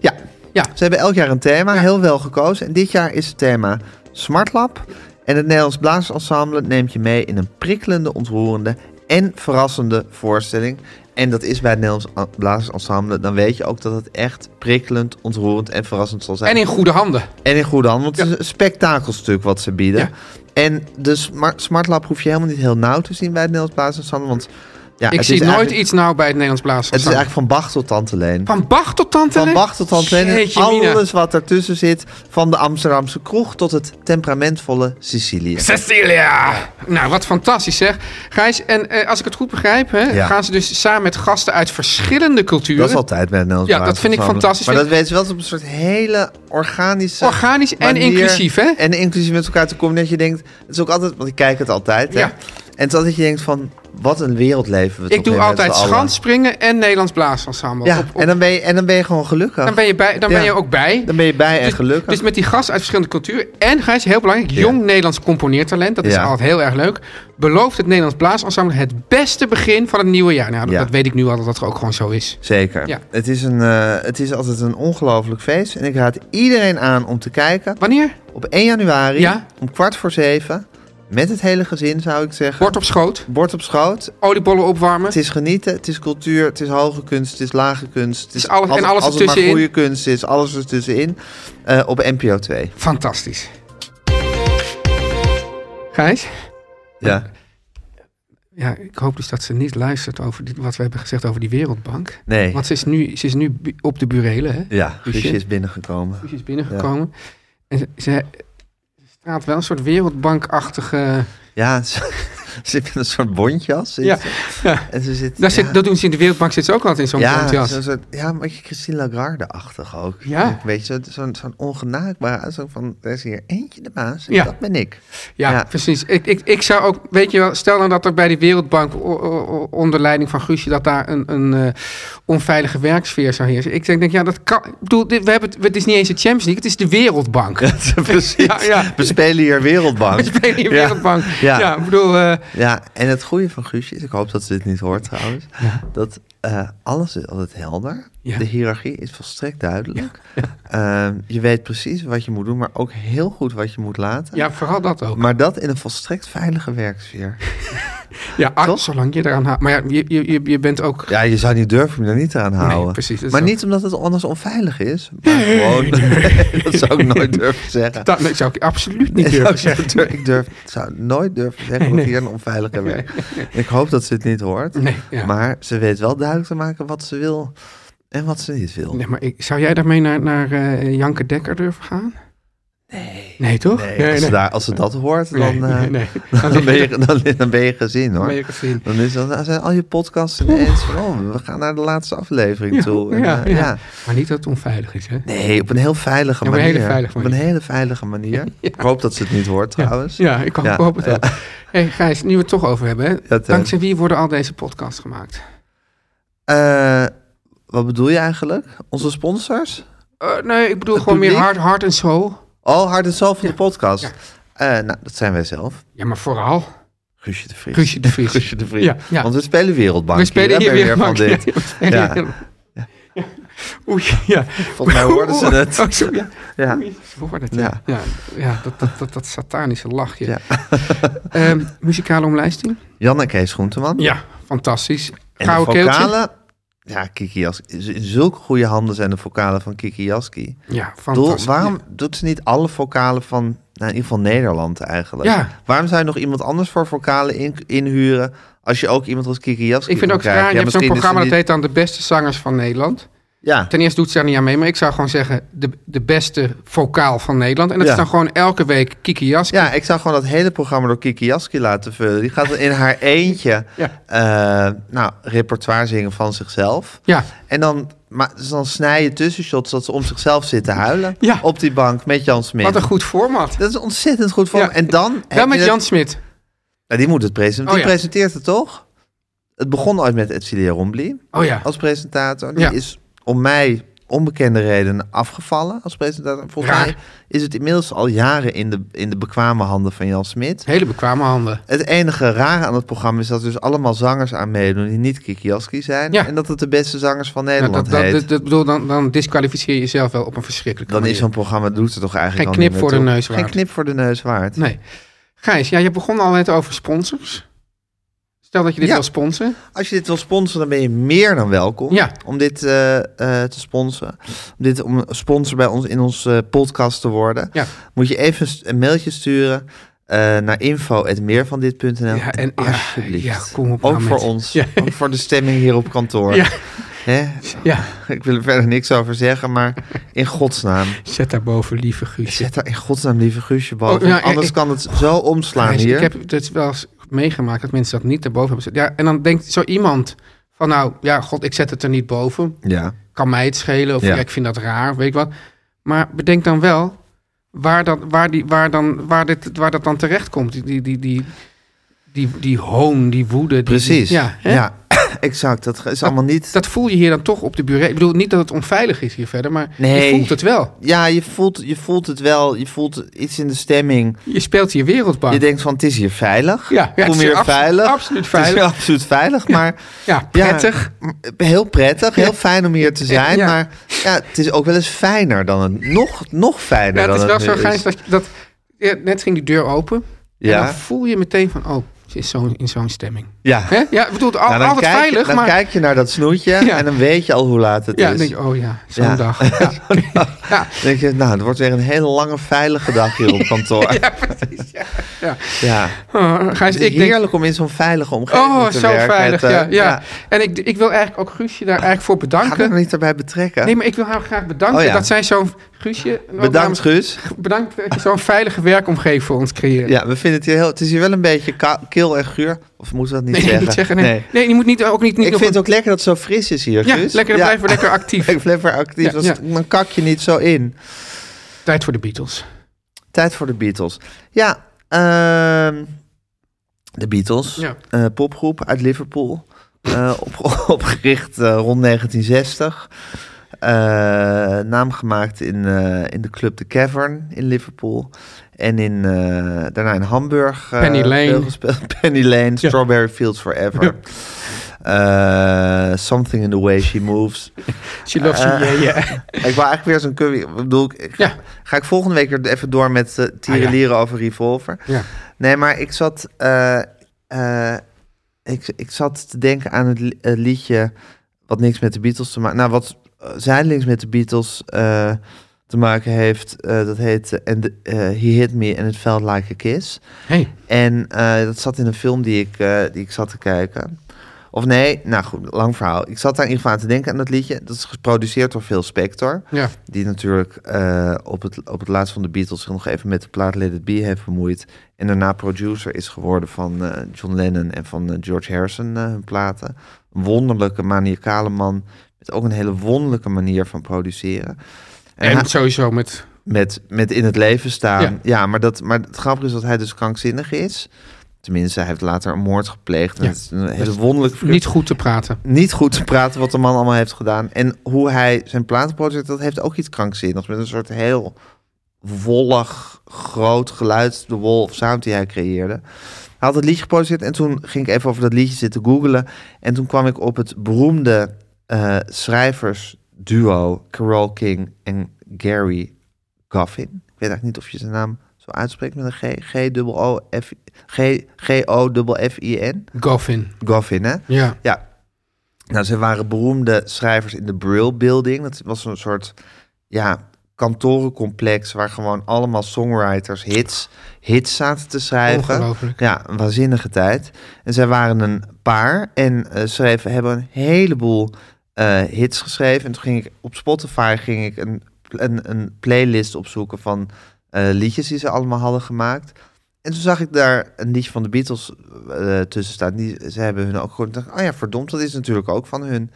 Speaker 2: Ja.
Speaker 3: Ja.
Speaker 2: Ze hebben elk jaar een thema, heel wel gekozen. En dit jaar is het thema Smartlab. En het Nederlands Blaasensemble neemt je mee in een prikkelende, ontroerende en verrassende voorstelling. En dat is bij het Nederlands A- Blaasensemble. Dan weet je ook dat het echt prikkelend, ontroerend en verrassend zal zijn.
Speaker 3: En in goede handen.
Speaker 2: En in goede hand, want het is een spektakelstuk wat ze bieden.
Speaker 3: Ja.
Speaker 2: En de Smar- Smartlab hoef je helemaal niet heel nauw te zien bij het Nederlands Blaasensemble. Want ja,
Speaker 3: Ik
Speaker 2: het
Speaker 3: zie
Speaker 2: is
Speaker 3: nooit
Speaker 2: eigenlijk-
Speaker 3: iets nou bij het Nederlands
Speaker 2: Het is
Speaker 3: Blaasensemble.
Speaker 2: eigenlijk van Bach tot Tante Leen.
Speaker 3: Van Bach tot Tante
Speaker 2: Van
Speaker 3: Leen?
Speaker 2: Bach tot Antenne,
Speaker 3: Jeetje, Mina.
Speaker 2: alles wat ertussen zit. Van de Amsterdamse kroeg tot het temperamentvolle Sicilië.
Speaker 3: Cecilia! Nou, wat fantastisch zeg. Gijs, en eh, als ik het goed begrijp, hè,
Speaker 2: Ja.
Speaker 3: gaan ze dus samen met gasten uit verschillende culturen.
Speaker 2: Dat is altijd bij het Nederlands
Speaker 3: Ja, dat
Speaker 2: Blazers
Speaker 3: vind ik
Speaker 2: Ensemble.
Speaker 3: fantastisch.
Speaker 2: Maar dat
Speaker 3: Vind
Speaker 2: weet je wel, het is op een soort hele organische
Speaker 3: Organisch en
Speaker 2: manier
Speaker 3: inclusief, hè?
Speaker 2: En inclusief met elkaar te komen. Dat je denkt, het is ook altijd, want ik kijk het altijd, hè?
Speaker 3: Ja.
Speaker 2: En het is altijd dat je denkt van, wat een wereld leven we
Speaker 3: ik doe altijd
Speaker 2: schans.
Speaker 3: schanspringen en Nederlands Blaasensemble.
Speaker 2: Ja,
Speaker 3: Op- op-
Speaker 2: en, dan ben je, en dan ben je gewoon gelukkig.
Speaker 3: dan ben je, bij, dan ben
Speaker 2: Ja.
Speaker 3: je ook bij.
Speaker 2: Dan ben je bij en
Speaker 3: Dus-
Speaker 2: gelukkig.
Speaker 3: Dus met die gasten uit verschillende culturen. En Gijs, heel belangrijk,
Speaker 2: Ja.
Speaker 3: jong Nederlands componeertalent. Dat is
Speaker 2: Ja.
Speaker 3: altijd heel erg leuk. Belooft het Nederlands Blaasensemble het beste begin van het nieuwe jaar. Nou, dat,
Speaker 2: Ja.
Speaker 3: dat weet ik nu al dat dat ook gewoon zo is.
Speaker 2: Zeker.
Speaker 3: Ja.
Speaker 2: Het, is een, eh, het is altijd een ongelooflijk feest. En ik raad iedereen aan om te kijken.
Speaker 3: Wanneer?
Speaker 2: Op 1 januari
Speaker 3: Ja.
Speaker 2: om kwart voor zeven. Met het hele gezin zou ik zeggen.
Speaker 3: Bord op schoot,
Speaker 2: Bord op schoot.
Speaker 3: oliebollen opwarmen.
Speaker 2: Het is genieten, het is cultuur, het is hoge kunst, het is lage kunst. Het
Speaker 3: is alles- en
Speaker 2: als
Speaker 3: alles
Speaker 2: het maar
Speaker 3: ertussenin.
Speaker 2: goede kunst is, alles ertussenin. Eh op NPO 2.
Speaker 3: Fantastisch. Gijs,
Speaker 2: Ja.
Speaker 3: Ja, ik hoop dus dat ze niet luistert over dit, wat we hebben gezegd over die Wereldbank.
Speaker 2: Nee.
Speaker 3: Want ze is nu, ze is nu bu- op de burelen, hè?
Speaker 2: Ja,
Speaker 3: Guusje.
Speaker 2: Guusje is binnengekomen.
Speaker 3: Ze is binnengekomen. En ze, ze, ze straalt wel een soort Wereldbankachtige...
Speaker 2: Ja, ze ze zit in een soort bontjas. zit
Speaker 3: Ja,
Speaker 2: ze.
Speaker 3: ja.
Speaker 2: En ze zit...
Speaker 3: Daar
Speaker 2: ja.
Speaker 3: zit, Dat doen ze in de Wereldbank, zit ze ook altijd in zo'n
Speaker 2: ja,
Speaker 3: bontjas.
Speaker 2: zo'n soort- ja, een beetje Christine Lagarde-achtig ook.
Speaker 3: Ja.
Speaker 2: Een beetje zo- zo'n zo'n ongenaakbare. Zo van, er is hier eentje de baas en
Speaker 3: Ja.
Speaker 2: dat ben ik.
Speaker 3: Ja,
Speaker 2: Ja.
Speaker 3: precies. Ik, ik, ik zou ook, weet je wel, stel nou dat er bij de Wereldbank o- o- o- onder leiding van Guusje dat daar een, een eh, onveilige werksfeer zou heersen. Ik denk, denk ja, dat kan. Ik bedoel, dit, we hebben het, het is niet eens de Champions League, het is de Wereldbank.
Speaker 2: Dat is Precies.
Speaker 3: Ja, ja.
Speaker 2: We spelen hier Wereldbank.
Speaker 3: We spelen hier
Speaker 2: Ja.
Speaker 3: Wereldbank. Ja,
Speaker 2: Ja.
Speaker 3: ik bedoel, eh,
Speaker 2: Ja, en het goede van Guusje is, ik hoop dat ze dit niet hoort trouwens, dat eh, alles is altijd helder.
Speaker 3: Ja.
Speaker 2: De hiërarchie is volstrekt duidelijk. Ehm, je weet precies wat je moet doen, maar ook heel goed wat je moet laten.
Speaker 3: ja, vooral dat ook.
Speaker 2: Maar dat in een volstrekt veilige werksfeer.
Speaker 3: Ja, ah,
Speaker 2: toch?
Speaker 3: zolang je eraan haalt. Maar ja, je, je, je- je bent ook.
Speaker 2: Ja, je zou niet durven om je daar niet aan houden.
Speaker 3: precies, dat is
Speaker 2: Maar
Speaker 3: ook-
Speaker 2: niet omdat het anders onveilig is. Maar gewoon, dat zou ik nooit durven zeggen.
Speaker 3: Dat nee, zou ik absoluut niet
Speaker 2: Ik
Speaker 3: durven
Speaker 2: zou-
Speaker 3: zeggen.
Speaker 2: Ik durf, zou nooit durven zeggen dat hier een onveilige werk. Ik hoop dat ze het niet hoort.
Speaker 3: Nee, ja.
Speaker 2: Maar ze weet wel duidelijk te maken wat ze wil en wat ze niet wil.
Speaker 3: Nee, maar ik, zou jij daarmee naar, naar eh, Janke Dekker durven gaan? Nee. Nee, toch?
Speaker 2: Nee, als, Ze daar, als ze dat hoort, dan,
Speaker 3: Nee,
Speaker 2: eh,
Speaker 3: nee, nee.
Speaker 2: dan, ben je, dan, dan ben je gezien hoor.
Speaker 3: Ben je gezien.
Speaker 2: Dan, is, dat- dan zijn al je podcasts ineens van, oh, we gaan naar de laatste aflevering toe. En,
Speaker 3: ja,
Speaker 2: eh,
Speaker 3: ja. Maar niet dat het onveilig is, hè?
Speaker 2: Nee, op een heel veilige
Speaker 3: Ja, op een
Speaker 2: manier.
Speaker 3: hele veilige
Speaker 2: Op een hele veilige manier. Ik hoop dat ze het niet hoort trouwens.
Speaker 3: Ja, ik hoop,
Speaker 2: Ja,
Speaker 3: hoop het ook. hey, Gijs, nu we het toch over hebben. Hè?
Speaker 2: Dat, eh,
Speaker 3: Dankzij wie worden al deze podcasts gemaakt?
Speaker 2: Eh, wat bedoel je eigenlijk? Onze sponsors?
Speaker 3: Eh, nee, ik bedoel
Speaker 2: Het
Speaker 3: gewoon meer
Speaker 2: publiek?
Speaker 3: hart, hart en soul.
Speaker 2: Oh, Hard en Soul van de podcast. Eh, nou, dat zijn wij zelf.
Speaker 3: Ja, maar vooral
Speaker 2: Guusje de Vries.
Speaker 3: Guusje de Vries.
Speaker 2: Guusje de Vries.
Speaker 3: Ja, ja.
Speaker 2: Want we spelen Wereldbank.
Speaker 3: we spelen hier
Speaker 2: hè, ben
Speaker 3: weer
Speaker 2: je
Speaker 3: Mark.
Speaker 2: van dit.
Speaker 3: Ja,
Speaker 2: Ja.
Speaker 3: ja, ja. Ja. Oei, ja.
Speaker 2: Volgens mij hoorden ze het.
Speaker 3: Oh, sorry, ja.
Speaker 2: Ja.
Speaker 3: Oei, ze hoorden het, ja.
Speaker 2: Ja.
Speaker 3: Ja, ja, dat, dat, dat, dat satanische lachje.
Speaker 2: Ja.
Speaker 3: Ehm, muzikale omlijsting?
Speaker 2: Jan en Kees Groenteman.
Speaker 3: Ja, fantastisch.
Speaker 2: En de
Speaker 3: Gouden keeltje?
Speaker 2: vocalen. Ja, Kiki Jaski. Z- In zulke goede handen zijn de vocalen van Kiki Jaski.
Speaker 3: Ja,
Speaker 2: Doel,
Speaker 3: fantastisch.
Speaker 2: waarom doet ze niet alle vocalen van, nou, in ieder geval Nederland eigenlijk?
Speaker 3: Ja.
Speaker 2: Waarom zou je nog iemand anders voor vocalen in, inhuren als je ook iemand als Kiki Jaski
Speaker 3: Ik vind het ook
Speaker 2: krijgt?
Speaker 3: raar, je hebt zo'n programma dat
Speaker 2: niet...
Speaker 3: heet dan De Beste Zangers van Nederland.
Speaker 2: Ja,
Speaker 3: Ten eerste doet ze daar niet aan mee, maar ik zou gewoon zeggen de, de beste vocaal van Nederland. En dat
Speaker 2: Ja.
Speaker 3: is dan gewoon elke week Kiki Jaski.
Speaker 2: Ja, ik zou gewoon dat hele programma door Kiki Jaski laten vullen. Die gaat dan in haar eentje
Speaker 3: Ja.
Speaker 2: eh, nou, repertoire zingen van zichzelf.
Speaker 3: Ja.
Speaker 2: En dan, maar, dus dan snij je tussenshots dat ze om zichzelf zit te huilen.
Speaker 3: Ja.
Speaker 2: Op die bank met Jan Smit.
Speaker 3: Wat een goed format.
Speaker 2: Dat is ontzettend goed voor
Speaker 3: Ja.
Speaker 2: hem. En dan...
Speaker 3: Wel
Speaker 2: heb je
Speaker 3: met
Speaker 2: het-
Speaker 3: Jan Smit.
Speaker 2: Nou, die moet het presenteren.
Speaker 3: Oh,
Speaker 2: die
Speaker 3: ja.
Speaker 2: presenteert het toch? Het begon ooit met Edcilia Rombly
Speaker 3: Oh ja.
Speaker 2: als presentator. Die
Speaker 3: Ja.
Speaker 2: is om mij onbekende redenen afgevallen als presentator. Volgens
Speaker 3: Raar.
Speaker 2: mij is het inmiddels al jaren in de, in de bekwame handen van Jan Smit.
Speaker 3: Hele bekwame handen.
Speaker 2: Het enige rare aan het programma is dat er dus allemaal zangers aan meedoen die niet Kikiaski zijn.
Speaker 3: Ja.
Speaker 2: En dat het de beste zangers van
Speaker 3: Nou,
Speaker 2: Nederland
Speaker 3: dat, dat,
Speaker 2: heet.
Speaker 3: dat, dat bedoel, dan, dan disqualificeer je jezelf wel op een verschrikkelijke
Speaker 2: dan is
Speaker 3: manier.
Speaker 2: zo'n programma, doet het toch eigenlijk
Speaker 3: Geen
Speaker 2: al niet
Speaker 3: knip
Speaker 2: meer
Speaker 3: voor de
Speaker 2: toe.
Speaker 3: neus waard.
Speaker 2: Geen knip voor de neus waard.
Speaker 3: Nee. Gijs, ja, je begon al net over sponsors. Stel dat je dit
Speaker 2: Ja.
Speaker 3: wil sponsoren.
Speaker 2: Als je dit wil sponsoren, dan ben je meer dan welkom
Speaker 3: Ja.
Speaker 2: om dit eh, eh, te sponsoren. Om, dit, om sponsor bij ons in onze podcast te worden.
Speaker 3: Ja.
Speaker 2: Moet je even st- een mailtje sturen eh, naar info.meervandit.nl.
Speaker 3: Ja, en- ja,
Speaker 2: alsjeblieft.
Speaker 3: ja, kom op
Speaker 2: ook
Speaker 3: nou
Speaker 2: voor
Speaker 3: met-
Speaker 2: ons.
Speaker 3: Ja.
Speaker 2: Ook voor de stemming hier op kantoor.
Speaker 3: Ja.
Speaker 2: Hè?
Speaker 3: Ja,
Speaker 2: Ik wil er verder niks over zeggen, maar in godsnaam.
Speaker 3: zet daarboven lieve Guusje.
Speaker 2: Zet daar in godsnaam lieve Guusje boven.
Speaker 3: Oh, ja,
Speaker 2: anders
Speaker 3: ik-
Speaker 2: kan het zo omslaan
Speaker 3: Gijs,
Speaker 2: hier.
Speaker 3: Ik heb het wel eens meegemaakt dat mensen dat niet daarboven hebben gezet. Ja, en dan denkt zo iemand van nou, ja, god, ik zet het er niet boven.
Speaker 2: Ja.
Speaker 3: kan mij het schelen of ja.
Speaker 2: Ja.
Speaker 3: ik vind dat raar, weet ik wat. Maar bedenk dan wel waar, dat, waar, die, waar, dan, waar, dit, waar dat dan terecht komt. Die, die, die, die, die, die hoon, die woede. die-
Speaker 2: Precies.
Speaker 3: die- ja, hè?
Speaker 2: exact. Dat is allemaal niet...
Speaker 3: Dat voel je hier dan toch op de bureau. Ik bedoel niet dat het onveilig is hier verder, maar
Speaker 2: Nee.
Speaker 3: je voelt het wel.
Speaker 2: Ja, je voelt, je voelt het wel. Je voelt iets in de stemming.
Speaker 3: Je speelt hier wereldbank.
Speaker 2: Je denkt van, het is hier veilig.
Speaker 3: Ja, ja, het
Speaker 2: Kom
Speaker 3: is
Speaker 2: hier
Speaker 3: abso-
Speaker 2: veilig.
Speaker 3: absoluut
Speaker 2: Het is
Speaker 3: veilig.
Speaker 2: hier absoluut veilig, maar...
Speaker 3: ja, prettig.
Speaker 2: Ja, m- heel prettig. Heel fijn om hier te zijn.
Speaker 3: Ja.
Speaker 2: Maar ja, het is ook wel eens fijner dan het... Nog, nog fijner
Speaker 3: Ja,
Speaker 2: dan
Speaker 3: het is wel zo
Speaker 2: nu
Speaker 3: grijs dat, dat ja, net ging die deur open. En
Speaker 2: Ja,
Speaker 3: dan voel je meteen van, oh, ze is zo, in zo'n stemming.
Speaker 2: ja.
Speaker 3: Hè? Ja, ik bedoel, al,
Speaker 2: Nou, dan
Speaker 3: altijd
Speaker 2: kijk, je-
Speaker 3: veilig,
Speaker 2: Dan
Speaker 3: maar...
Speaker 2: kijk je naar dat snoetje
Speaker 3: Ja.
Speaker 2: en dan weet je dus. al hoe laat het
Speaker 3: ja,
Speaker 2: is.
Speaker 3: dan denk je, oh ja, zo'n
Speaker 2: Ja.
Speaker 3: dag. Ja. Ja.
Speaker 2: denk je, nou, het wordt weer een hele lange veilige dag hier op kantoor. ja,
Speaker 3: precies. Ja. ja. Oh,
Speaker 2: Het
Speaker 3: Gijs,
Speaker 2: is
Speaker 3: ik denk,
Speaker 2: heerlijk om in zo'n veilige omgeving
Speaker 3: oh,
Speaker 2: te
Speaker 3: zo
Speaker 2: werken.
Speaker 3: veilig.
Speaker 2: Het,
Speaker 3: Ja,
Speaker 2: eh,
Speaker 3: ja. En ik, ik wil eigenlijk ook Guusje daar eigenlijk voor
Speaker 2: Ga me
Speaker 3: bedanken.
Speaker 2: niet daarbij betrekken.
Speaker 3: Nee, maar ik wil haar graag bedanken
Speaker 2: Oh, ja.
Speaker 3: dat zij zo'n... Guusje, nou, en ook
Speaker 2: Bedankt,
Speaker 3: namens-
Speaker 2: Guus.
Speaker 3: bedankt dat je zo'n veilige werkomgeving voor ons creëert.
Speaker 2: Ja, we vinden het hier heel... Het is hier wel een beetje ka- kil en guur. Of moeten we dat niet
Speaker 3: Nee,
Speaker 2: zeggen?
Speaker 3: niet zeggen. Nee, nee. je moet niet, ook niet, niet
Speaker 2: Ik
Speaker 3: nog
Speaker 2: vind het
Speaker 3: een-
Speaker 2: ook lekker dat het zo fris is hier,
Speaker 3: Ja,
Speaker 2: Guus.
Speaker 3: lekker, dan blijven we lekker actief.
Speaker 2: Ik blijf weer actief,
Speaker 3: Ja,
Speaker 2: dan,
Speaker 3: ja.
Speaker 2: dan kak je niet zo in.
Speaker 3: Tijd voor de Beatles.
Speaker 2: Tijd voor de Beatles. Ja, ehm, de Beatles.
Speaker 3: Ja.
Speaker 2: eh, popgroep uit Liverpool. eh, op, opgericht eh, rond 1960. Eh, naam gemaakt in, eh, in de club The Cavern in Liverpool. En in, eh, daarna in Hamburg. eh,
Speaker 3: Penny Lane.
Speaker 2: veel gespeeld. Penny Lane, Strawberry Fields Forever. Eh, something in the way she moves.
Speaker 3: She loves you, yeah, yeah.
Speaker 2: Ik wil eigenlijk weer zo'n curry. Ik bedoel, ik- ik ga,
Speaker 3: Ja. Ah,
Speaker 2: ga ik volgende week weer even door met uh, tierenlieren over Revolver.
Speaker 3: Ja.
Speaker 2: Nee, maar ik zat, eh, eh, ik, ik zat te denken aan het, li- het liedje wat niks met de Beatles te maken. Nou, wat eh, zijdelings met de Beatles eh, te maken heeft. eh, dat heet eh, and, eh, He Hit Me and It Felt Like a Kiss.
Speaker 3: Hey.
Speaker 2: En eh, dat zat in een film die ik, eh, die ik zat te kijken. Of nee, nou goed, lang verhaal. Ik zat daar in ieder geval aan te denken aan dat liedje. Dat is geproduceerd door Phil Spector.
Speaker 3: Ja.
Speaker 2: Die natuurlijk eh, op, het, op het laatst van de Beatles zich nog even met de plaat Let It Be heeft bemoeid. En daarna producer is geworden van eh, John Lennon en van eh, George Harrison eh, hun platen. Een wonderlijke, maniacale man. Met ook een hele wonderlijke manier van produceren.
Speaker 3: En
Speaker 2: hij-
Speaker 3: sowieso met...
Speaker 2: met, met in het leven staan.
Speaker 3: Ja.
Speaker 2: Ja, maar, dat, maar het grappige is dat hij dus krankzinnig is. Tenminste, hij heeft later een moord gepleegd. En
Speaker 3: Ja.
Speaker 2: het is een hele wonderlijke figuur.
Speaker 3: Niet goed te praten.
Speaker 2: Niet goed te praten wat de man allemaal heeft gedaan. En hoe hij zijn platenproject, dat heeft ook iets krankzinnigs. Met een soort heel wollig, groot geluid, de wolf sound die hij creëerde. Hij had het liedje geproduceerd en toen ging ik even over dat liedje zitten googelen. En toen kwam ik op het beroemde eh, schrijversduo Carole King en Gary Goffin. Ik weet eigenlijk niet of je zijn naam zo uitspreekt met een G, G-O-F, G, G-O-F-I-N.
Speaker 3: Goffin.
Speaker 2: Goffin, hè?
Speaker 3: Ja.
Speaker 2: Ja. Nou, ze waren beroemde schrijvers in de Brill Building. Dat was een soort ja, kantorencomplex waar gewoon allemaal songwriters hits, hits zaten te schrijven.
Speaker 3: Ongelooflijk.
Speaker 2: Ja, een waanzinnige tijd. En zij waren een paar en eh, schreven, hebben een heleboel eh, hits geschreven. En toen ging ik op Spotify ging ik een, een, een playlist opzoeken van eh, liedjes die ze allemaal hadden gemaakt. En toen zag ik daar een liedje van de Beatles eh, tussen staan. Die, ze hebben hun ook gehoord. Ik dacht, oh ja, verdomd, dat is natuurlijk ook van hun.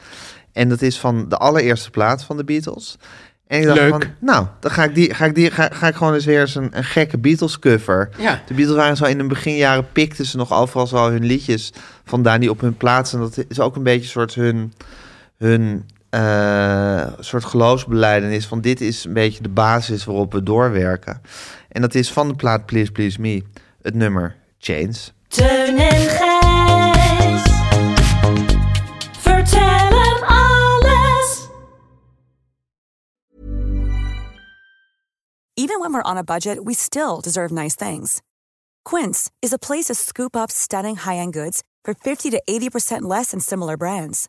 Speaker 2: En dat is van de allereerste plaat van de Beatles. En ik dacht
Speaker 3: Leuk.
Speaker 2: van, nou, dan ga ik, die, ga ik, die, ga, ga ik gewoon eens weer eens een, een gekke Beatles cover.
Speaker 3: Ja.
Speaker 2: De Beatles waren zo in hun beginjaren, pikten ze nog overal zo hun liedjes vandaan die op hun plaats. En dat is ook een beetje soort hun, hun eh, soort geloofsbeleidenis van dit is een beetje de basis waarop we doorwerken. En dat is van de plaat Please Please Me, het nummer Chains.
Speaker 7: Teun en Gijs. Vertel hem alles.
Speaker 9: Even when we're on a budget, we still deserve nice things. Quince is a place to scoop up stunning high end goods for 50 to 80% less than similar brands.